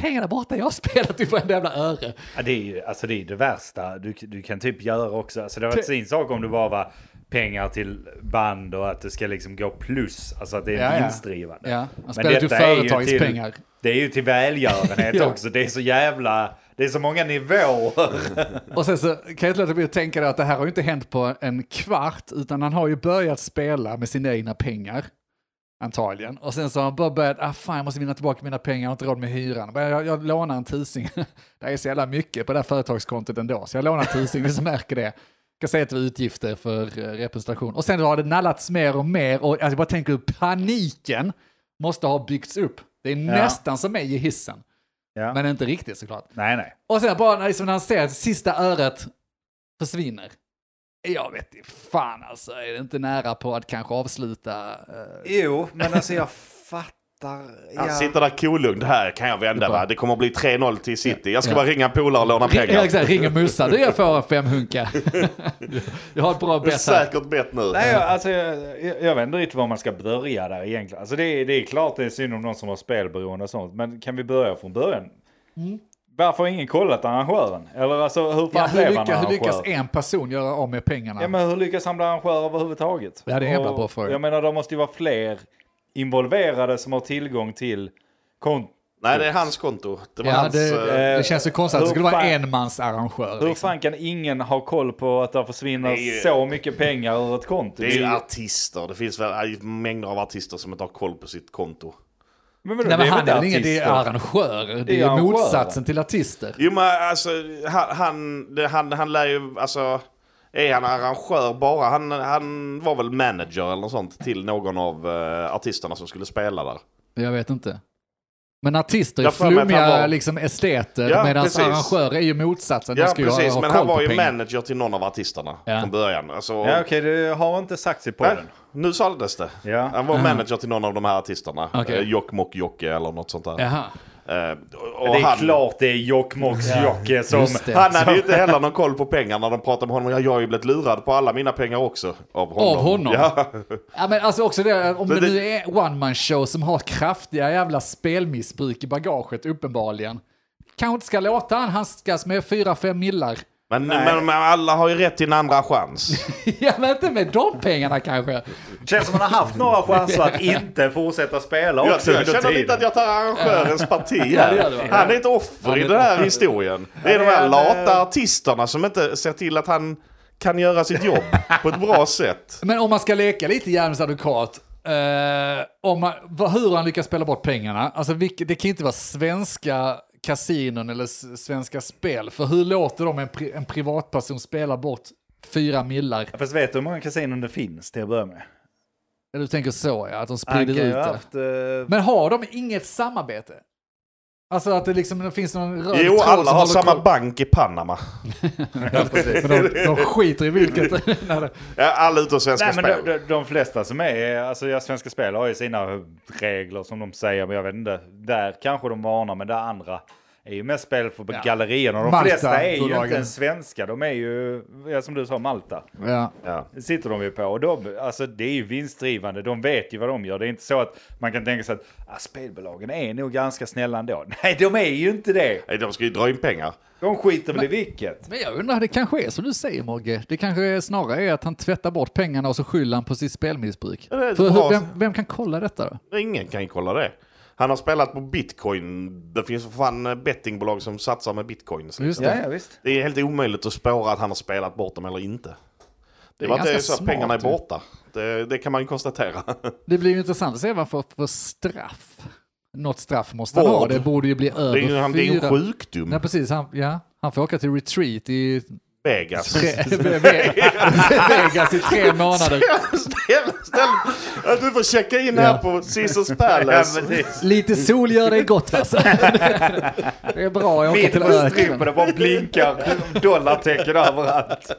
S1: Pengarna borta, jag har spelat i varenda jävla öre.
S2: Ja, det är ju alltså det, är det värsta du, du kan typ göra också. Alltså, det var
S1: Ty-
S2: varit sin sak om det bara var pengar till band och att det ska liksom gå plus. Alltså att det är
S1: Ja, ja.
S2: vinstdrivande.
S1: Ja, han
S2: Men
S1: spelar ju
S2: detta är ju
S1: företagets
S2: till-
S1: pengar.
S2: Det är ju till välgörenhet
S1: Ja.
S2: också. Det är så jävla... Det är så många nivåer.
S1: Och sen så kan jag inte låta bli att tänka då att det här har ju inte hänt på en kvart, utan han har ju börjat spela med sina egna pengar. Antagligen. Och sen så har han bara börjat, ah fan jag måste vinna tillbaka mina pengar, jag har inte råd med hyran. Men jag, jag lånar en tusing. det är så jävla mycket på det här företagskontot ändå, så jag lånar en tusing, ni som märker det. Jag ska säga att det var utgifter för eh, representation. Och sen har det nallats mer och mer, och alltså, jag bara tänker hur paniken måste ha byggts upp. Det är nästan som mig i hissen,
S2: Ja.
S1: men inte riktigt såklart.
S2: Nej, nej.
S1: Och sen bara när, liksom, när han ser att sista öret försvinner. Jag vet inte, fan alltså, är det inte nära på att kanske avsluta? eh,
S2: Jo, men alltså jag fattar.
S3: Han sitter där kolugn. Det här kan jag vända va? Det kommer bli 3-0 till City. Jag ska
S1: Ja.
S3: bara ringa en polare och låna
S1: ja,
S3: pengar.
S1: exakt, ringer Mussa, du jag får en femhunka. jag har ett bra
S3: Det är
S1: bett här.
S3: säkert bett nu.
S2: Nej, jag, alltså, jag, jag, jag vet inte riktigt var man ska börja där egentligen. Alltså, det, är- det är klart det är synd om någon som har spelberoende och sånt, men kan vi börja från början? Varför har ingen kollat arrangören? Eller alltså, hur fan
S1: Mm. Ja, hur,
S2: blev han
S1: lyckas, hur
S2: arrangör?
S1: lyckas en person göra av med pengarna?
S2: Ja, men hur lyckas han bli arrangör överhuvudtaget?
S1: Ja, det är en jävla
S2: Och
S1: bra fråga.
S2: Jag menar, det måste ju vara fler involverade som har tillgång till kont
S3: Nej, det är hans konto. Det var
S1: Ja,
S3: hans...
S1: det,
S3: eh,
S1: det känns ju konstigt att det
S2: hur
S1: skulle vara
S2: fan-
S1: enmansarrangör.
S2: Hur
S1: Liksom.
S2: fan kan ingen ha koll på att det försvinner
S3: Det är ju-
S2: så mycket pengar ur ett konto?
S3: Det är ju artister. Det finns väl aj, mängder av artister som inte har koll på sitt konto.
S2: men vadå,
S1: Nej
S2: det
S1: men han
S2: inte
S1: är väl ingen, det är
S2: artister?
S1: arrangör. Det är
S2: är
S1: ju
S2: arrangör.
S1: motsatsen till artister.
S3: Jo men alltså, han, han, det- han, han lär ju, alltså, är han arrangör bara? Han, han var väl manager eller något sånt till någon av eh, artisterna som skulle spela där.
S1: Jag vet inte. Men artister är
S3: Jag får med att
S1: flummiga
S3: han var-
S1: liksom esteter
S3: Ja,
S1: medan
S3: precis.
S1: arrangörer är ju motsatsen. De
S3: Ja
S1: ska ju
S3: precis,
S1: ha, ha
S3: men
S1: koll
S3: han var
S1: på
S3: ju
S1: pengar.
S3: manager till någon av artisterna
S1: Ja.
S3: från början. Alltså,
S2: Ja, okej, det har inte sagts i
S3: Nej,
S2: podden.
S3: nu sades det.
S2: Ja.
S3: Han var manager till någon av de här artisterna.
S1: Okej.
S3: Eh, Jokkmokk Jokke eller något sånt där.
S1: Jaha.
S3: Eh, och, och
S2: Det är
S3: han,
S2: klart det är Jokkmokks Jokke som...
S1: Just det.
S3: han hade ju inte heller någon koll på pengar när de pratade med honom. Ja, jag har ju blivit lurad på alla mina pengar också. Av honom.
S1: Av honom?
S3: Ja.
S1: Ja, men alltså också det, om det,
S3: det-
S1: nu är one man show som har kraftiga jävla spelmissbruk i bagaget uppenbarligen. Kanske inte ska låta han handskas med fyra fem millar.
S3: Men, men, men alla har ju rätt till en andra chans.
S1: ja men inte med de pengarna kanske.
S2: Känns som han har haft några chanser att inte fortsätta spela
S3: Jag,
S2: också
S3: jag
S2: under
S3: känner lite
S2: tiden.
S3: att jag tar arrangörens parti
S1: Ja, det gör du, va?
S3: här. Han är ett offer i den här historien. Det är de här lata artisterna som inte ser till att han kan göra sitt jobb på ett bra sätt.
S1: Men om man ska leka lite djävulens advokat. Eh, om man, vad, hur han lyckas spela bort pengarna. Alltså, vilk, det kan ju inte vara svenska kasinon eller s- svenska spel. För hur låter de en, pri, en privatperson spela bort fyra millar?
S2: Fast vet du hur många kasinon det finns till att börja med?
S1: Eller du tänker så ja, att de
S2: Han
S1: sprider
S2: kan
S1: ut
S2: ju ha
S1: det.
S2: haft... eh,
S1: Men har de inget samarbete? Alltså att det liksom det finns någon röd
S3: Jo,
S1: tråd
S3: alla
S1: som
S3: har
S1: håller
S3: samma
S1: koll.
S3: bank i Panama.
S2: ja, precis.
S1: Men de, de skiter i vilket. när det-
S3: Ja, Alla utom Svenska
S2: Nej, men
S3: Spel.
S2: de, de, de flesta som är, alltså ja, Svenska Spel har ju sina regler som de säger, men jag vet inte. Där kanske de varnar, men det andra är ju mest spel för gallerierna. De
S1: Malta,
S2: flesta är ju
S1: bolagen.
S2: inte ens svenska, de är ju, ja, som du sa, Malta.
S1: ja.
S3: Ja.
S2: sitter de ju på. Och de, alltså, det är ju vinstdrivande, de vet ju vad de gör. Det är inte så att man kan tänka sig att ah, spelbolagen är nog ganska snälla ändå. Nej, de är ju inte det.
S3: Nej, De ska ju dra in pengar.
S2: De skiter väl i vilket.
S1: Men jag undrar, det kanske är som du säger Mogge. Det kanske är snarare är att han tvättar bort pengarna och så skyller han på sitt spelmissbruk.
S3: det är ett
S1: För
S3: bra-
S1: hur, vem, vem kan kolla detta då?
S3: Ingen kan ju kolla det. Han har spelat på bitcoin. Det finns för fan eh, bettingbolag som satsar med bitcoins. Liksom.
S1: Just det.
S2: visst.
S3: Det är helt omöjligt att spåra att han har spelat bort dem eller inte.
S1: är
S3: Det är bara att det är
S1: ganska
S3: så att pengarna är
S1: smart, ju.
S3: borta. Det, det kan man ju konstatera.
S1: Det blir ju intressant att se vad han får för straff. Något straff måste han ha.
S3: Vård.
S1: Det borde ju bli över
S3: Det är ju han- det är ju en
S1: fyra.
S3: sjukdom.
S1: Nej, precis. Han, ja, han får åka till retreat i
S3: Vegas.
S1: tre, Vegas i tre månader.
S3: Ställ- ställ- att du får checka in här
S1: Ja.
S3: på Caesars Palace.
S1: Lite sol gör dig gott alltså. Det är bra att åka
S2: Mitt
S1: till
S2: på
S1: öknen.
S2: strumporna bara blinkar dollartecken överallt.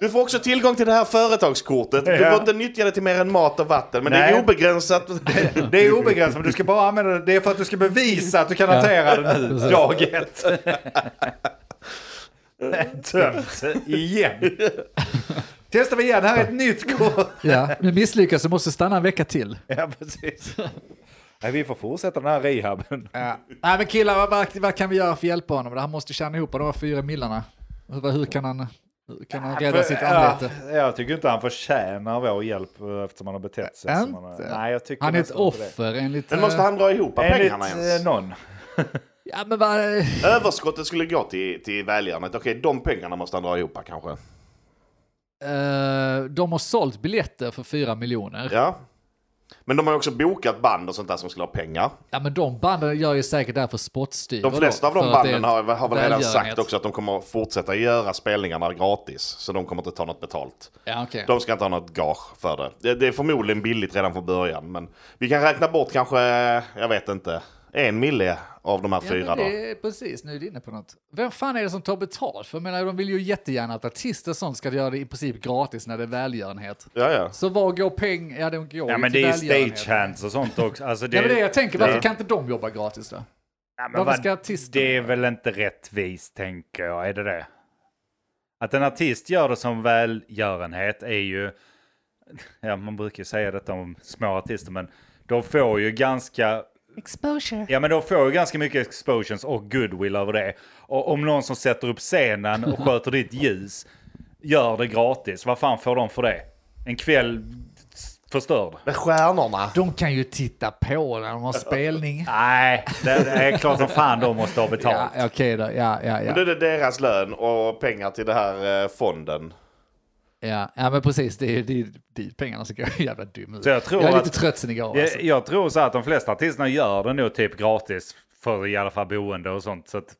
S3: Du får också tillgång till det här företagskortet. Du
S2: Ja.
S3: får inte nyttja det till mer än mat och vatten, men det
S2: Nej.
S3: är obegränsat.
S2: Det är obegränsat, men du ska bara använda det. Det är för att du ska bevisa att du kan hantera det nu,
S1: precis.
S2: dag ett. Tömt igen. Testar vi igen, här är ett nytt kort.
S1: Ja, men misslyckas så måste stanna en vecka till.
S2: Ja, precis. Nej, vi får fortsätta den här rehaben.
S1: Ja. Eh, Nej men killar, vad, vad, vad kan vi göra för att hjälpa honom? Det här måste tjäna ihop de här fyra millarna. Hur, hur kan han, hur kan han rädda sitt
S2: ja,
S1: anlete?
S2: jag tycker inte han förtjänar vår hjälp eh, eftersom han har betett sig som han har.
S1: Inte.
S2: Nej, jag tycker
S1: Han är ett
S2: nästan inte det.
S1: offer enligt...
S3: Men måste
S1: eh,
S3: han dra ihop pengarna
S2: Enligt eh,
S3: ens?
S2: någon.
S1: Ja men vad... eh,
S3: Överskottet skulle gå till, till välgörenhet. Okej, de pengarna måste han dra ihop kanske.
S1: eh, de har sålt biljetter för fyra miljoner. Ja.
S3: Ja. Men de har ju också bokat band och sånt där som skulle ha pengar.
S1: men de banden gör ju säkert därför spottstyver.
S3: De flesta av de
S1: för att det är
S3: banden har, har väl redan sagt
S1: välgörenhet.
S3: också att de kommer fortsätta göra spelningarna gratis. Så de kommer inte ta något betalt.
S1: Ja, okej.
S3: De ska inte ha något gage för det. det. Det är förmodligen billigt redan från början. Men vi kan räkna bort kanske, jag vet inte, en mille av de här
S1: Ja,
S3: fyra
S1: men
S3: då.
S1: det är precis, nu är du inne på något. Vem fan är det som tar betalt? För jag menar, de vill ju jättegärna att artister och sånt ska göra det i princip gratis när det är välgörenhet.
S3: Ja, ja.
S1: Så var går peng? Ja, de går
S2: Ja,
S1: ju
S2: men
S1: till
S2: det är
S1: välgörenhet.
S2: stagehands och sånt också. Alltså, det,
S1: Ja, men det är det jag tänker, varför
S2: det-
S1: kan inte de jobba gratis då?
S2: Ja, men
S1: Varför
S2: vad-
S1: ska artisterna
S2: Det är
S1: göra
S2: väl inte rättvist, tänker jag. Är det det? Att en artist gör det som välgörenhet är ju... Ja, man brukar ju säga detta om små artister, men de får ju ganska...
S1: Exposure.
S2: Ja, men de får ju ganska mycket expositions och goodwill över det. Och om någon som sätter upp scenen och sköter ditt ljus gör det gratis, vad fan får de för det? En kväll s- förstörd?
S3: Men stjärnorna.
S1: De kan ju titta på när de har spelning.
S2: Nej, det är klart som fan de måste ha
S1: Ja,
S2: betalt.
S1: okej då. Ja, ja,
S3: Då
S1: ja.
S3: är det deras lön och pengar till den här eh, fonden.
S1: ja. ja men precis. Det är ju dit, dit pengarna ska gå. Jävla dum ut.
S2: Så jag tror
S1: jag är
S2: att-
S1: lite trött sen igår. Alltså.
S2: Jag, jag tror så här att de flesta artisterna gör det nog typ gratis för i alla fall boende och sånt. Så att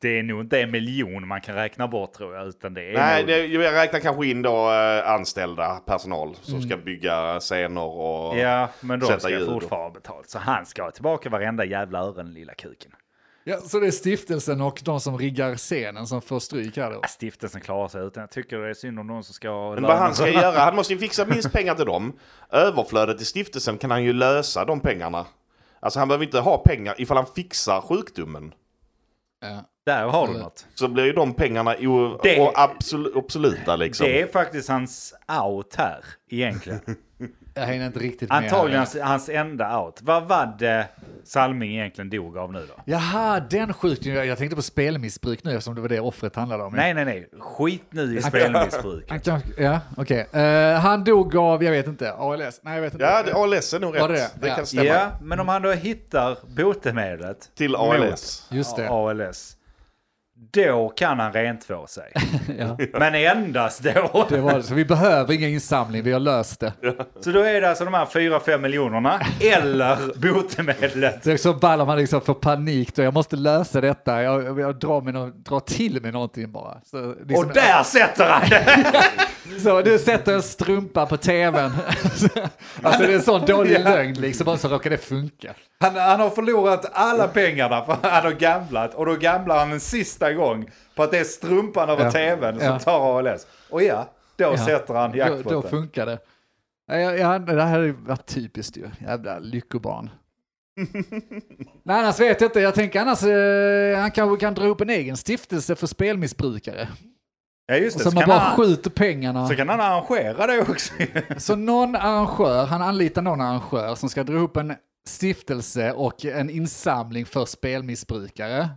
S2: det är nog inte en miljon man kan räkna bort tror jag. Utan det är
S3: Nej,
S2: nog...
S3: det, jag räknar kanske in då eh, anställda personal som ska bygga scener och...
S2: Mm. Ja, men de
S3: Sätta
S2: ska
S3: ljud och-
S2: fortfarande ha betalt. Så han ska ha tillbaka varenda jävla ören, lilla kuken.
S1: Ja, så det är stiftelsen och de som riggar scenen som får stryk här då?
S2: Ja, Stiftelsen klarar sig utan jag tycker det är synd om någon som ska ha
S3: Men
S2: lönen
S3: vad han ska
S2: för-
S3: göra, han måste ju fixa minst pengar till dem. Överflödet i stiftelsen kan han ju lösa de pengarna. Alltså han behöver inte ha pengar ifall han fixar sjukdomen.
S1: Ja.
S2: Där har du något.
S3: Så blir ju de pengarna o-
S2: Det-
S3: och absolu- absoluta liksom.
S2: Det är faktiskt hans out här egentligen.
S1: Jag hänger inte riktigt med.
S2: Antagligen
S1: här.
S2: hans, hans enda out. Vad var det Salming egentligen dog av nu då?
S1: Jaha, den sjukdomen. Jag- Jag tänkte på spelmissbruk nu eftersom det var det offret handlade om.
S2: Nej, nej, nej. Skit nu i spelmissbruk.
S1: Han kan- Ja, okej. Eh, han dog av, jag vet inte, ALS? Nej, jag vet inte.
S3: Ja, det, ALS är nog
S1: Var
S3: rätt.
S1: det
S3: Det,
S1: det? Ja.
S3: kan stämma.
S2: Ja, men om han då hittar botemedlet
S3: Till ALS.
S1: Just det.
S2: ALS, då kan han rentvå sig.
S1: Ja.
S2: Men endast då.
S1: Det var det. Så vi behöver ingen insamling, vi har löst det.
S2: Så då är det alltså de här 4-5 miljonerna eller botemedlet.
S1: Det är så ball om man liksom får panik då, jag måste lösa detta, jag, jag drar, mig nå- drar till med någonting bara. Så, liksom,
S2: Och där sätter han det!
S1: så nu sätter jag en strumpa på tvn. alltså det är en sån dålig lögn liksom, och så råkar det funka.
S2: Han, han har förlorat alla pengarna för han har gamblat och då gamblar han en sista gång på att det är strumpan över
S1: Ja.
S2: tvn som
S1: Ja.
S2: tar ALS. Och ja, då
S1: Ja.
S2: sätter han
S1: Då, då
S2: jackpoten.
S1: funkar det. Ja, ja, ja, det här hade ju varit typiskt ju. Jävla lyckobarn. Nej, annars vet jag inte. Jag tänker annars, eh, han kanske kan dra upp en egen stiftelse för spelmissbrukare.
S2: Ja, just det.
S1: Så
S2: Så
S1: man
S2: kan,
S1: bara
S2: han,
S1: skjuter pengarna.
S2: så kan han arrangera det också.
S1: Så någon arrangör, han anlitar någon arrangör som ska dra ihop en stiftelse och en insamling för spelmissbrukare.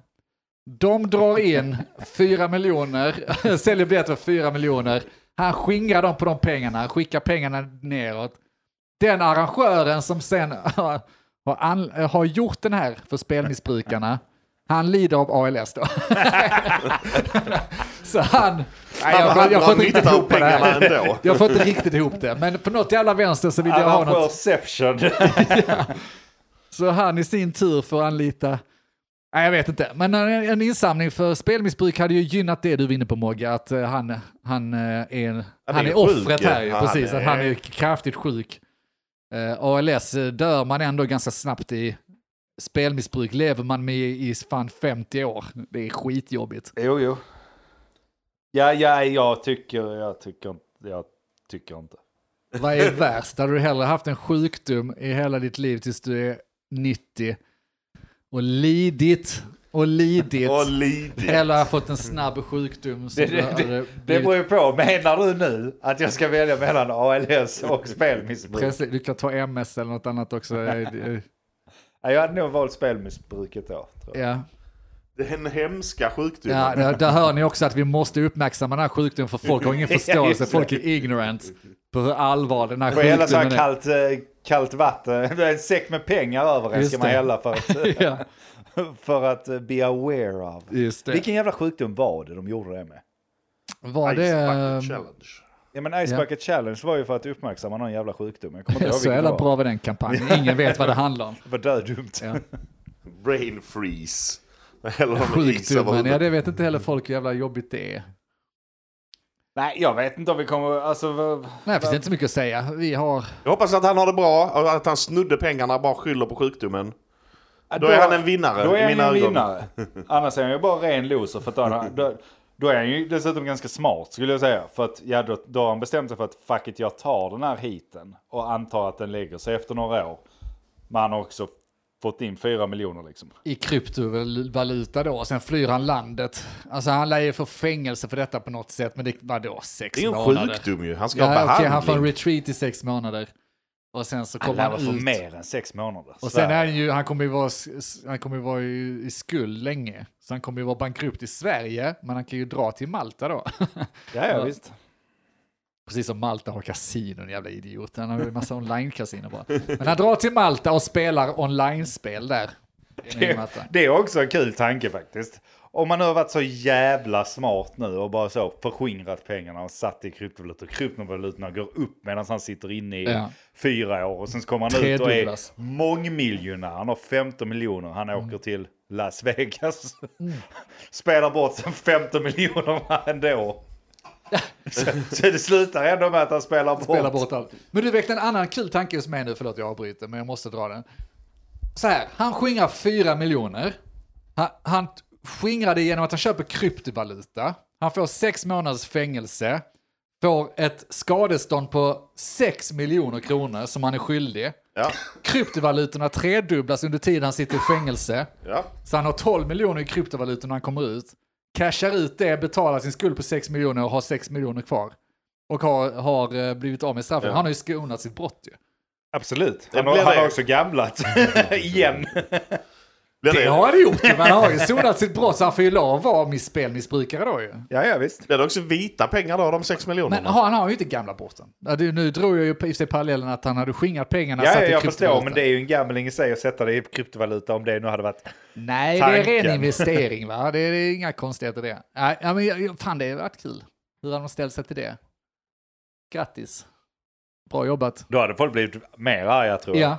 S1: De drar in 4 miljoner, säljer biljetter för 4 miljoner. Han skingrar dem på de pengarna, skickar pengarna neråt. Den arrangören som sen har, har, an, har gjort den här för spelmissbrukarna, han lider av ALS då. Så han... Nej,
S3: Han-
S1: jag,
S3: han
S1: jag får
S3: drar
S1: inte riktigt
S3: nytta av
S1: ihop det
S3: pengarna
S1: här.
S3: ändå.
S1: Jag får inte riktigt ihop det, men på något jävla vänster så vill jag ha något.
S2: Arrangörsception.
S1: Så han i sin tur får anlita, nej jag vet inte, men en, en insamling för spelmissbruk hade ju gynnat det du var inne på Mogge, att eh, han, han, eh, är, han
S3: är
S1: är
S3: sjuk,
S1: offret
S3: ja.
S1: här ju,
S3: Han
S1: precis, att han
S3: är-
S1: är kraftigt sjuk. Eh, ALS eh, dör man ändå ganska snabbt i, spelmissbruk lever man med i fan 50 år. Det är skitjobbigt.
S2: Jo, jo. Ja, ja, jag tycker, jag tycker inte, jag tycker inte.
S1: Vad är värst? Hade du hellre haft en sjukdom i hela ditt liv tills du är 90 och lidit och lidit
S3: Och lidigt.
S1: eller fått en snabb sjukdom som
S2: Det,
S1: det,
S2: det, det,
S1: hade
S2: det beror
S1: blivit...
S2: ju på, menar du nu att jag ska välja mellan ALS och spelmissbruk?
S1: Precis, du kan ta MS eller något annat också. Eh, eh,
S2: Ja, jag hade nog valt spelmissbruket då. Tror jag.
S1: Ja.
S3: Det är en hemska sjukdom.
S1: Ja, där, där hör ni också att vi måste uppmärksamma den här sjukdomen för folk har ingen förståelse, folk är ignorant på hur allvarlig den här
S2: Jag får hälla så
S1: sjukdomen
S2: här
S1: är.
S2: kallt, eh, kallt vatten, en säck med pengar över en
S1: Just
S2: ska man
S1: det.
S2: hälla för att,
S1: Ja,
S2: för att eh, be aware av.
S1: just det.
S2: Vilken jävla sjukdom var det de gjorde det med?
S1: Var
S3: Ice
S1: det...
S3: Bucket
S1: ehm,
S3: Challenge.
S2: Ja men Ice
S1: Ja.
S2: Bucket Challenge var ju för att uppmärksamma någon jävla sjukdom. Jag kommer inte ihåg
S1: Så
S2: vilken det
S1: jävla
S2: var.
S1: bra var den kampanjen. Ingen vet vad det handlar om.
S2: Det var dödumt.
S1: Ja.
S3: Brain freeze. Eller
S1: Sjukdomen, ja det vet inte heller folk hur jävla jobbigt det är.
S2: Nej jag vet inte om vi kommer, alltså vad-
S1: Nej, det finns inte så mycket att säga. Vi har...
S3: Jag hoppas att han har det bra och att han snudde pengarna och bara skyller på sjukdomen. Då är han en vinnare
S2: Då
S3: i
S2: är han
S3: mina
S2: ju en
S3: ögon.
S2: vinnare. Annars är han ju bara ren loser. För att då, har han- då, då är han ju dessutom ganska smart skulle jag säga. För att ja, då, då har han bestämt sig för att fuck it, jag tar den här hiten och antar att den lägger sig efter några år. Men han har också fått in fyra miljoner liksom.
S1: I kryptovaluta då, och sen flyr han landet. Alltså han lär ju få fängelse för detta på något sätt, men det vadå, sex
S3: Det är ju en
S1: månader?
S3: sjukdom ju. Han ska ha
S1: Ja, okej,
S3: behandling.
S1: han får en retreat i sex månader. Och sen så
S2: Han
S1: kommer
S2: lär
S1: han,
S2: väl få
S1: ut.
S2: mer än sex månader.
S1: Och
S2: Så där.
S1: sen är han ju, han kommer ju vara, s- s- han kommer ju vara i, i skuld länge. Så han kommer ju vara bankrupt i Sverige, men han kan ju dra till Malta då.
S2: ja, ja, visst.
S1: Precis som Malta har kasinon, jävla idiot. Han har ju en massa online-kasinon bara. Men han drar till Malta och spelar online-spel där.
S2: Det, det är också en kul tanke faktiskt. Om man nu har varit så jävla smart nu och bara så förskingrat pengarna och satt i kryptovalutor. Kryptovalutorna går upp medan han sitter inne i
S1: Ja.
S2: fyra år. Och sen så kommer han ut och är
S1: Tredubblas. Mm.
S2: mångmiljonär. Han har 15 miljoner. Han åker till Las Vegas. Spelar bort sen 15 miljoner ändå. Så, så det slutar ändå med att han spelar bort.
S1: Spela bort allt. Men du väckte en annan kul tanke hos mig nu, förlåt jag avbryter, men jag måste dra den. Så här, han skingrar 4 miljoner. Han, han skingrar det genom att han köper kryptovaluta. Han får 6 månaders fängelse. Får ett skadestånd på 6 miljoner kronor som han är skyldig.
S3: Ja,
S1: Kryptovalutorna tredubblas under tiden han sitter i fängelse.
S3: ja.
S1: Så han har 12 miljoner i kryptovalutor när han kommer ut. Cashar ut det, betalar sin skuld på 6 miljoner och har 6 miljoner kvar. Och har, har eh, blivit av med straffet. Han har ju skonat sitt brott ju.
S2: Absolut. Han,
S3: Det
S2: har,
S3: blir
S2: han har
S3: det.
S2: också gamlat. Igen.
S3: Blir
S1: Det
S3: det,
S1: har han gjort ju, men han har ju sonat sitt brott så han får ju lov att vara miss- spelmissbrukare då ju.
S2: Ja, ja visst.
S3: blir det också vita pengar då, de sex miljonerna?
S1: Men har- han har ju inte gamla brotten. Ja, det- Nu drog jag ju på- i och för sig parallellen att han hade skingrat pengarna.
S2: Ja,
S1: satt
S2: ja
S1: i
S2: jag
S1: kryptovaluta.
S2: förstår, men det är ju en gambling i sig att sätta det i kryptovaluta om det nu hade varit...
S1: Nej, det är
S2: tanken.
S1: ren investering va? Det är, det är inga konstigheter det. Nej, ja, men jag- jag- fan det har varit kul. Hur har de ställt sig till det? Grattis. Bra jobbat.
S2: Då hade folk blivit mer arga tror jag.
S1: Ja,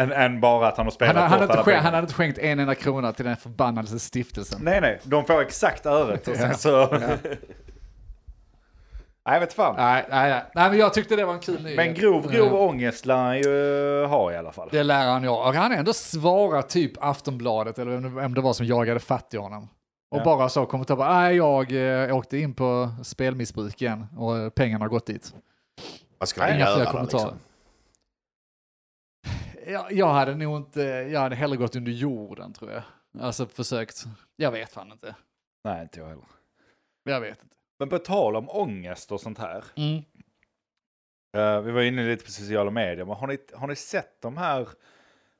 S2: Än, än bara att han har spelat
S1: Han, han, hade
S2: bort
S1: inte
S2: alla
S1: skänkt,
S2: pengar.
S1: han hade inte skänkt en enda krona till den förbannade stiftelsen.
S2: Nej, nej. De får exakt öret. Och sen så... Nej, vet fan.
S1: Nej, nej, nej. nej, men jag tyckte det var en kul nyhet.
S2: Men grov, grov
S1: Ja.
S2: ångest lär han ju ha i alla fall.
S1: Det lär han ju ha. Och han ändå svarar typ Aftonbladet, eller vem det- vem det var som jagade fatt i honom. Och
S2: Ja.
S1: bara så kommentar bara, nej jag eh, åkte in på spelmissbruk igen och eh, pengarna har gått dit.
S3: Vad ska
S2: Nej,
S3: vi
S1: Inga
S3: göra
S1: fler
S3: då,
S1: kommentarer.
S3: liksom?
S1: Jag, jag hade nog inte, jag hade hellre gått under jorden tror jag. Alltså försökt, jag vet fan inte.
S2: Nej, inte jag heller.
S1: Jag vet inte.
S2: Men på tal om ångest och sånt här.
S1: Mm.
S2: Eh, vi var inne lite på sociala medier, men har ni, har ni sett de här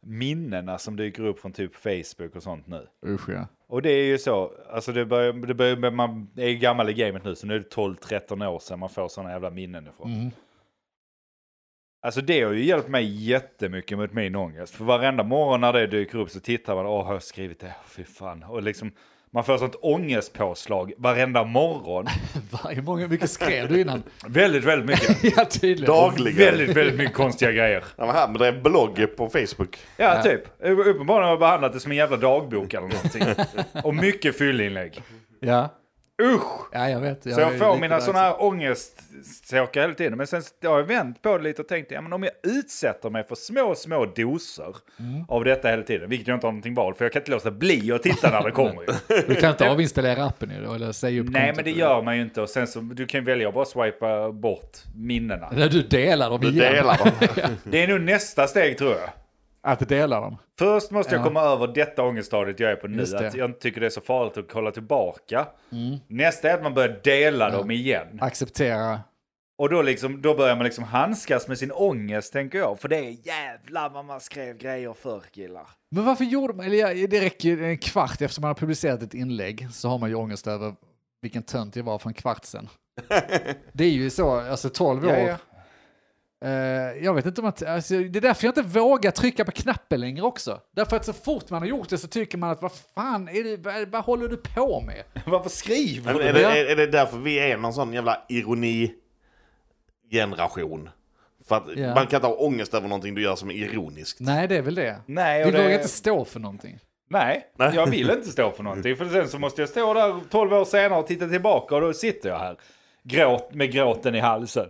S2: minnena som dyker upp från typ Facebook och sånt nu?
S1: Usch ja.
S2: Och det är ju så, alltså det börjar, det börjar, men man är ju gammal i gamet nu så nu är det 12-13 år sedan man får sådana jävla minnen ifrån.
S1: Mm.
S2: Alltså det har ju hjälpt mig jättemycket mot min ångest. För varenda morgon när det dyker upp så tittar man, åh har jag skrivit det? Fy fan. Och liksom, Man får sånt ångestpåslag varenda morgon.
S1: Va, hur många, mycket skrev du innan?
S2: Väldigt, väldigt mycket.
S1: ja, tydligen.
S3: Dagligen.
S2: väldigt, väldigt mycket konstiga grejer.
S3: Han var här med drev blogg på Facebook.
S2: Ja, typ. Uppenbarligen har jag behandlat det som en jävla dagbok eller någonting. Och mycket fyllinlägg.
S1: Ja.
S2: Usch!
S1: ja, jag vet.
S2: Så jag
S1: är
S2: får
S1: lite
S2: mina
S1: där
S2: sådana
S1: också.
S2: här ångestsåkar hela tiden. Men sen har jag vänt på det lite och tänkt, ja men om jag utsätter mig för små, små doser av detta hela tiden, vilket jag inte har någonting val, för jag kan inte låta bli att titta när det kommer. ju.
S1: Du kan inte avinstallera appen ju då, eller säga upp
S2: Nej,
S1: kontot
S2: men det
S1: eller-
S2: gör man ju inte. Och sen så, du kan ju välja att bara swipa bort minnena.
S1: När du delar dem
S3: Du
S1: igen.
S3: delar dem.
S2: Det är nog nästa steg tror jag.
S1: Att dela dem.
S2: Först måste jag
S1: Ja.
S2: komma över detta ångeststadiet jag är på nu.
S1: Just det.
S2: Att jag inte tycker det Mm. är så farligt att kolla tillbaka. Nästa är att man börjar dela dem igen.
S1: Acceptera.
S2: Och då, liksom, då börjar man liksom handskas med sin ångest, tänker jag. För det är jävlar vad man skrev grejer förr, killar.
S1: Men varför gjorde man, eller ja, det räcker ju en kvart efter man har publicerat ett inlägg så har man ju ångest över vilken tönt jag var för en kvart sedan. Det är ju så, alltså 12 år.
S2: Ja, ja.
S1: Eh, jag vet inte om att, alltså, det är därför jag inte vågar trycka på knappen längre också. Därför att så fort man har gjort det så tycker man att vad fan, är det, vad, vad håller du på med?
S2: Varför skriver
S3: Men
S2: du?
S3: är, det, är, är det därför vi är någon sån jävla ironi-generation? För att
S1: Ja.
S3: man kan inte ha ångest över någonting du gör som är ironiskt.
S1: Nej, det är väl det.
S2: Nej,
S1: Vi
S2: och det...
S1: vågar inte stå för någonting.
S2: Nej, jag vill inte stå för någonting. För sen så måste jag stå där 12 år senare och titta tillbaka och då sitter jag här. Gråt, med gråten i halsen.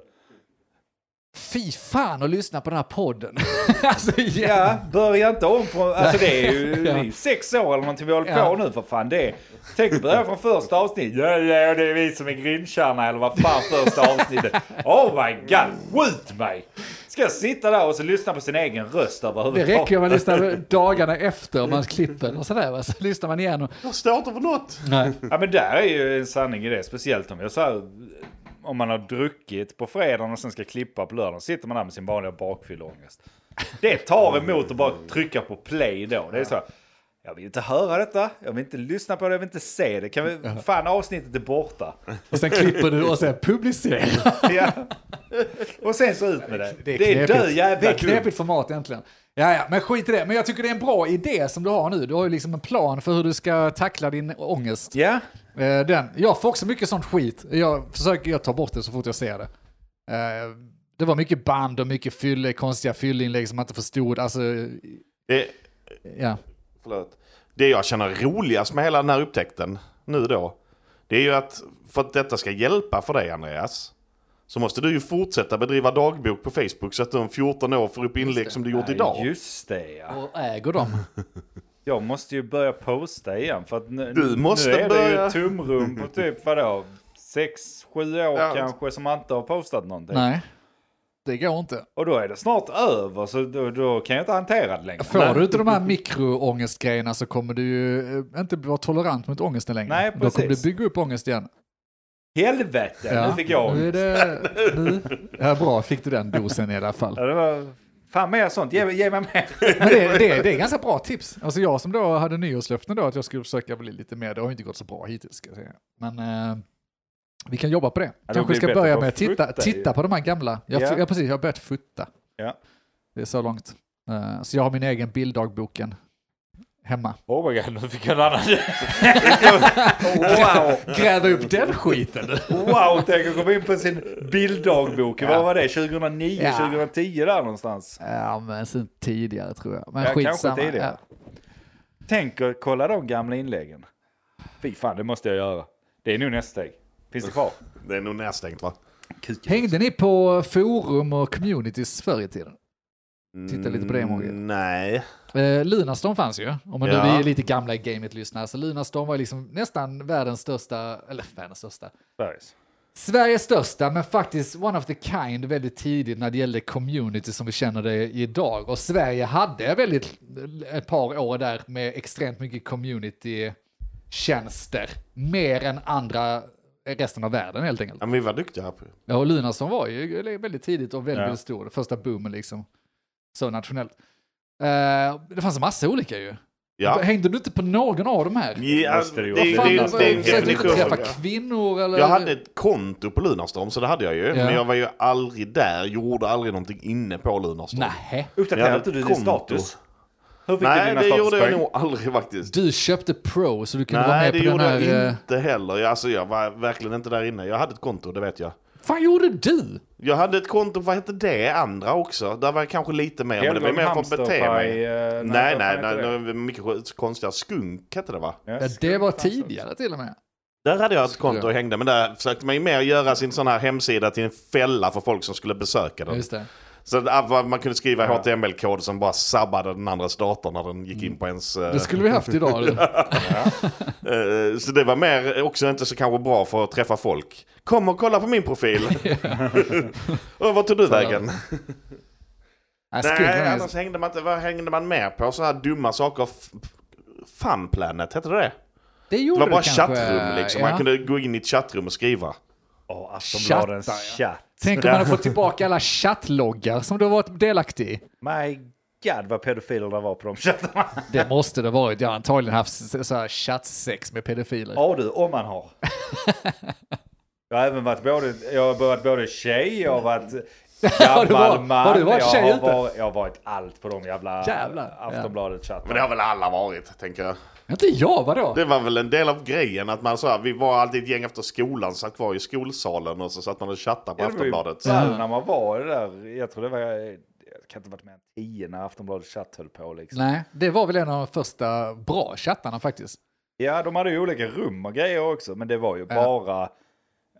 S1: Fy fan att lyssna på den här podden. alltså, igen.
S2: Ja, börja inte om från... Alltså det är ju
S1: Ja.
S2: det är sex år eller någonting vi håller på
S1: Ja.
S2: nu för fan. Det är, tänk börja från första avsnittet. Ja, ja, det är vi som är grindtjärna eller vad fan första avsnittet. Oh my god, skjut mig! Ska jag sitta där och så lyssna på sin egen röst
S1: Det räcker ju
S2: överhuvudtaget?
S1: om man lyssnar dagarna efter om man klipper och sådär. va. Så lyssnar man igen och...
S3: Jag står inte för något.
S1: Nej.
S2: Ja men där är ju en sanning i det. Speciellt om jag så här, om man har druckit på fredagen och sen ska klippa på lördagen. Sitter man där med sin vanliga bakfylleångest. Det tar emot att bara trycka på play då. Det är så här, jag vill inte höra detta, jag vill inte lyssna på det, jag vill inte se det. Kan vi, fan avsnittet är borta.
S1: Och sen klipper du och sen publicerar.
S2: Ja. Och sen så ut med det. Det är,
S1: knepigt.
S2: dö jävla
S1: Det är
S2: dumt.
S1: knepigt format egentligen. Ja, ja, men skit i det. Men jag tycker det är en bra idé som du har nu. Du har ju liksom en plan för hur du ska tackla din ångest.
S2: Ja,
S1: Eh, Den. Jag får också mycket sånt skit. Jag försöker jag tar bort det så fort jag ser det. Eh, Det var mycket band och mycket fylle, konstiga fylleinlägg som man inte förstod. Alltså,
S3: Det,
S1: ja.
S3: förlåt. det jag känner roligast med hela den här upptäckten nu då. Det är ju att för att detta ska hjälpa för dig Andreas. Så måste du ju fortsätta bedriva dagbok på Facebook så att du om 14 år får upp inlägg som du gjort idag.
S2: just det ja.
S1: Och äger dem.
S2: Jag måste ju börja posta igen för att nu,
S3: Du måste
S2: nu är det ju
S3: börja.
S2: ett tomrum på typ vadå? sex sju år
S3: Ja.
S2: kanske som man inte har postat någonting.
S1: Nej, det går inte.
S2: Och då är det snart över så då, då kan jag inte hantera det längre.
S1: Får du inte de här mikroångestgrejerna så kommer du ju eh, inte vara tolerant mot ångesten längre.
S2: Nej,
S1: Då
S2: precis.
S1: kommer du bygga upp ångest igen.
S2: Helvete, nu fick jag
S1: Nu är det, nu, ja, bra, fick du den dosen i alla fall.
S2: ja, det var Fan mer sånt, ge, ge mig mer.
S1: Men det, det, det är ganska bra tips. Alltså jag som då hade nyårslöften då att jag skulle försöka bli lite mer, det har ju inte gått så bra hittills ska jag säga. Men eh, vi kan jobba på det.
S2: det
S1: Kanske
S2: blir
S1: vi ska
S2: bättre
S1: börja
S2: på
S1: med
S2: att
S1: att titta,
S2: futta ju.
S1: titta på de här gamla. Jag,
S2: Ja.
S1: ja. precis, jag har börjat futta.
S2: Ja.
S1: Det är så långt. Eh, så jag har min egen bilddagboken hemma.
S2: Oh my god, nu fick jag en annan. Oh, wow,
S1: Gräva upp den skiten du.
S2: wow, tänk att komma in på sin bilddagbok. Vad var det? 2009,
S1: Ja.
S2: 2010 där någonstans.
S1: Ja, men sen tidigare tror jag. Men
S2: Ja, kanske
S1: skitsamma.
S2: tidigare. Tänk att kolla de gamla inläggen. Fy fan, det måste jag göra. Det är nog nästa steg. Finns det kvar?
S3: Det är nog nedstängt va?
S1: Ja. Hängde ni på forum och communities förr i tiden? Titta lite på det Morgan.
S3: Mm, Nej.
S1: Eh, Lunarstorm fanns ju, om man nu
S3: Ja.
S1: är lite gamla i gamet lyssnar. Så Lunarstorm var ju liksom nästan världens största, eller världens största,
S2: Sveriges.
S1: Sveriges största, men faktiskt one of the kind väldigt tidigt när det gällde community som vi känner det idag. Och Sverige hade väldigt, ett par år där med extremt mycket community-tjänster. Mer än andra, resten av världen helt enkelt.
S3: Ja, Men vi var duktiga här på
S1: Ja, och Lunarsson var ju väldigt tidigt och väldigt
S2: Ja.
S1: stor. Första boomen liksom. Så nationellt. Eh, det fanns en massa olika ju.
S3: Ja.
S1: Hängde du inte på någon av de här?
S3: Ja,
S2: Måste
S3: det,
S2: det ju
S3: det,
S2: vara.
S3: det,
S2: Fan,
S3: det,
S2: alltså,
S3: det är en
S2: jag
S1: försökte du inte
S3: definition.
S1: träffa kvinnor eller?
S3: Jag hade ett konto på Lunarstorm, så det hade jag ju.
S1: Ja.
S3: Men jag var ju aldrig där, gjorde aldrig någonting inne på Lunarstorm.
S1: Nej.
S2: Uppdaterar
S3: Ja,
S2: inte du din
S3: konto.
S2: status? Hur fick du
S3: Nej,
S2: dina
S3: det gjorde jag
S2: statuspoäng?
S3: nog aldrig faktiskt.
S1: Du köpte Pro så du kunde vara
S3: Nej,
S1: med
S3: det
S1: på den
S3: gjorde
S1: här...
S3: jag
S1: eh,
S3: inte heller. Jag- Alltså, jag var verkligen inte där inne. Jag hade ett konto, det vet jag.
S1: fan gjorde du?
S3: Jag hade ett konto, vad hette det andra också? Där var jag kanske lite mer, men det var
S2: Helgon
S3: mer för att
S2: Hamsterpaj,
S3: bete mig.
S2: eh,
S3: Nej,
S2: vad
S3: nej,
S2: fan
S3: nej,
S2: heter
S3: nej,
S2: det?
S3: det var mycket konstiga skunk hette det va?
S1: Ja,
S2: Yes.
S1: det var tidigare till och med.
S3: Där hade jag ett
S1: Skulle
S3: konto
S1: jag.
S3: och hängde, men där försökte man ju mer göra sin sån här hemsida till en fälla för folk som skulle besöka den.
S1: Just det.
S3: Så att, ah, vad man kunde skriva
S2: Ja.
S3: HTML-kod som bara sabbade den andras dator när den gick in på ens... eh,
S1: Mm. Det skulle vi haft idag. du.
S3: eh, så det var mer, eh, också inte så kanske bra för att träffa folk. Kom och kolla på min profil! och vart tog du vägen?
S1: Nej,
S3: Nej,
S1: skolan är-
S3: annars hängde man inte, vad hängde man med på? Sådana här dumma saker. F- Fun Planet, hette det det?
S1: det
S3: Det
S1: gjorde
S3: var bara
S1: du kanske.
S3: chattrum liksom.
S1: Ja.
S3: Man kunde gå in i ett chattrum och skriva.
S2: Åh, Aftonbladens
S1: Chatta,
S2: chatt.
S1: Tänk om man hade fått tillbaka alla chattloggar som du har varit delaktig i.
S2: My God vad pedofiler det var på de chattarna.
S1: Det måste det varit. Jag har antagligen haft så här chattsex med pedofiler.
S2: Ja du, om man har. Jag har även varit både, jag har varit både tjej, jag har varit
S1: Har du
S2: gammal
S1: varit-
S2: man.
S1: har du varit
S2: jag,
S1: tjej
S2: har
S1: ute?
S2: varit, jag har varit allt på de jävla
S1: Jävlar, ja.
S3: Men
S2: Aftonbladet-chattarna.
S3: det har väl alla varit, tänker jag.
S1: Inte jag, vadå?
S3: Det var väl en del av grejen att man så här, vi var alltid ett gäng efter skolan, satt kvar i skolsalen och så satt man och chattade på
S2: Ja, det var ju
S3: Aftonbladet.
S1: Mm.
S2: ball när man var i det där. Jag tror det var, jag kan inte ha varit med en tio när Aftonbladet chatt höll på liksom.
S1: Nej, det var väl en av de första bra chattarna faktiskt.
S2: Ja, de hade ju olika rum och grejer också, men det var ju bara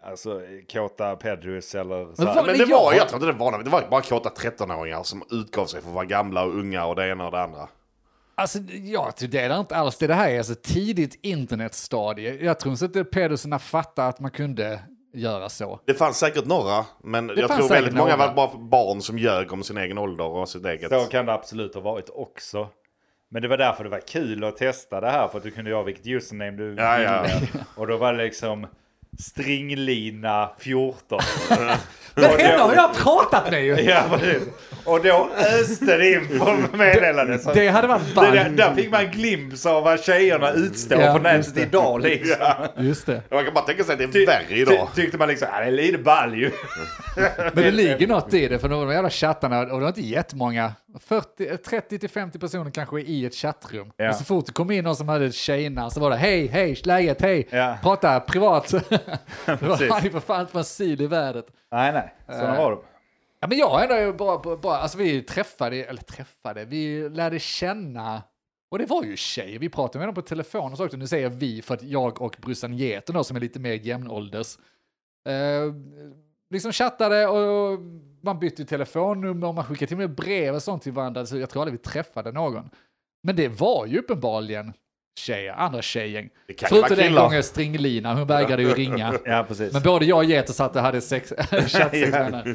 S2: alltså kåta pedus eller så.
S1: Men
S2: här.
S1: vad-
S3: Men det
S1: jag-
S3: var, jag tror inte det var något, det var bara kåta 13-åringar som utgav sig för att vara gamla och unga och det ena och det andra.
S1: Alltså, jag delar inte alls det. Det här är alltså tidigt internetstadie. Jag tror inte att pedoserna fattade att man kunde göra så.
S3: Det fanns säkert några, men jag
S1: fanns
S3: tror
S1: säkert
S3: väldigt många
S1: några.
S3: var bara barn som ljög om sin egen ålder och sitt eget.
S2: Så kan det absolut ha varit också. Men det var därför det var kul att testa det här för att du kunde göra vilket username du
S3: Ja, ja.
S2: ville. Och då var det liksom stringlina 14.
S1: Men
S2: Och
S1: henne
S2: då-
S1: har jag pratat med ju!
S2: Ja, precis. Och då öste det in på meddelanden. Så-
S1: Det hade varit
S2: Det där, där
S1: ball.
S2: fick man en glimt av vad tjejerna utstår
S1: Ja,
S2: på
S1: just
S2: nätet
S1: det.
S2: idag liksom.
S1: Just det.
S3: Man kan bara tänka sig att det är
S2: Ty-
S3: värre idag.
S2: ty- tyckte man liksom, "Ja, det är lite ball ju.
S1: Men det ligger något i det, för de jävla chattarna, och det var inte jättemånga, 40, 30 till 50 personer kanske i ett chattrum.
S2: Ja.
S1: Och så fort det kom in någon som hade ett tjejnamn så var det hej, hej, läget, hej,
S2: Ja.
S1: prata privat. det
S2: Precis.
S1: var ju för fan inte en sil i världen.
S2: Nej, nej. Sådana var de.
S1: Ja, men jag ändå är ju bara, bara, bara, alltså vi träffade, eller träffade, vi lärde känna, och det var ju tjejer, vi pratade med dem på telefon och så också, nu säger jag vi för att jag och brorsan Geten då som är lite mer jämnålders, eh, liksom chattade och man bytte telefonnummer, och man skickade till och med brev och sånt till varandra, så jag tror aldrig vi träffade någon. Men det var ju uppenbarligen tjejer, andra tjejgäng.
S3: Det kan ju
S1: Förutom
S3: vara
S1: den
S3: killar.
S1: gången Stringlina, hon vägrade ju ringa.
S2: Ja, precis.
S1: Men både jag och Geto satt och hade sex, chattsex med henne.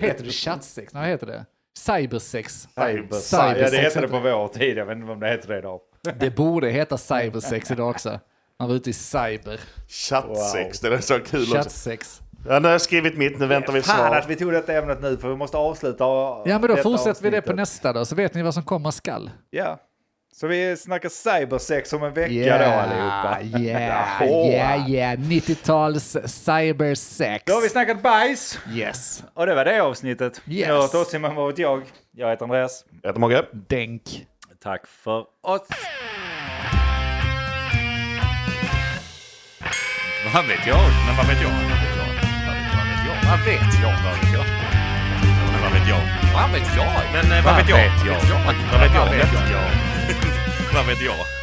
S1: Heter det chattsex? Nej, vad heter det? Cybersex.
S2: Cybersex.
S1: Cybersex
S2: ja, det hette det på
S1: heter
S2: vår tid. Jag vet inte om det heter det idag.
S1: Det borde heta cybersex idag också. Man var ute i cyber.
S3: Chattsex, det är så kul också.
S1: Chattsex.
S3: Ja, nu har jag skrivit mitt, nu väntar vi
S2: Fan
S3: svar.
S2: att vi tog detta ämnet nu för vi måste avsluta
S1: Ja, men då
S2: detta
S1: fortsätter vi det på
S2: avsnittet.
S1: nästa då, så vet ni vad som komma skall.
S2: Ja. Så vi snackar cybersex om en vecka då allihopa.
S1: yeah, yeah,
S2: Jaha.
S1: yeah, yeah. 90-tals cybersex.
S2: Då har vi snackat bajs.
S1: Yes.
S2: Och det var det avsnittet.
S1: Yes.
S2: Jag har hört oss vad vet jag. Jag heter Andreas.
S3: Jag heter Mogge.
S1: Denk.
S2: Tack för oss.
S4: Vad vet jag? Men vad vet jag? Vad vet jag? Vad vet jag? Vad vet jag? Men vad vet jag? Vad vet jag? Men eh, vad vet jag? Vad vet jag? Vad vet jag? Vad vet jag?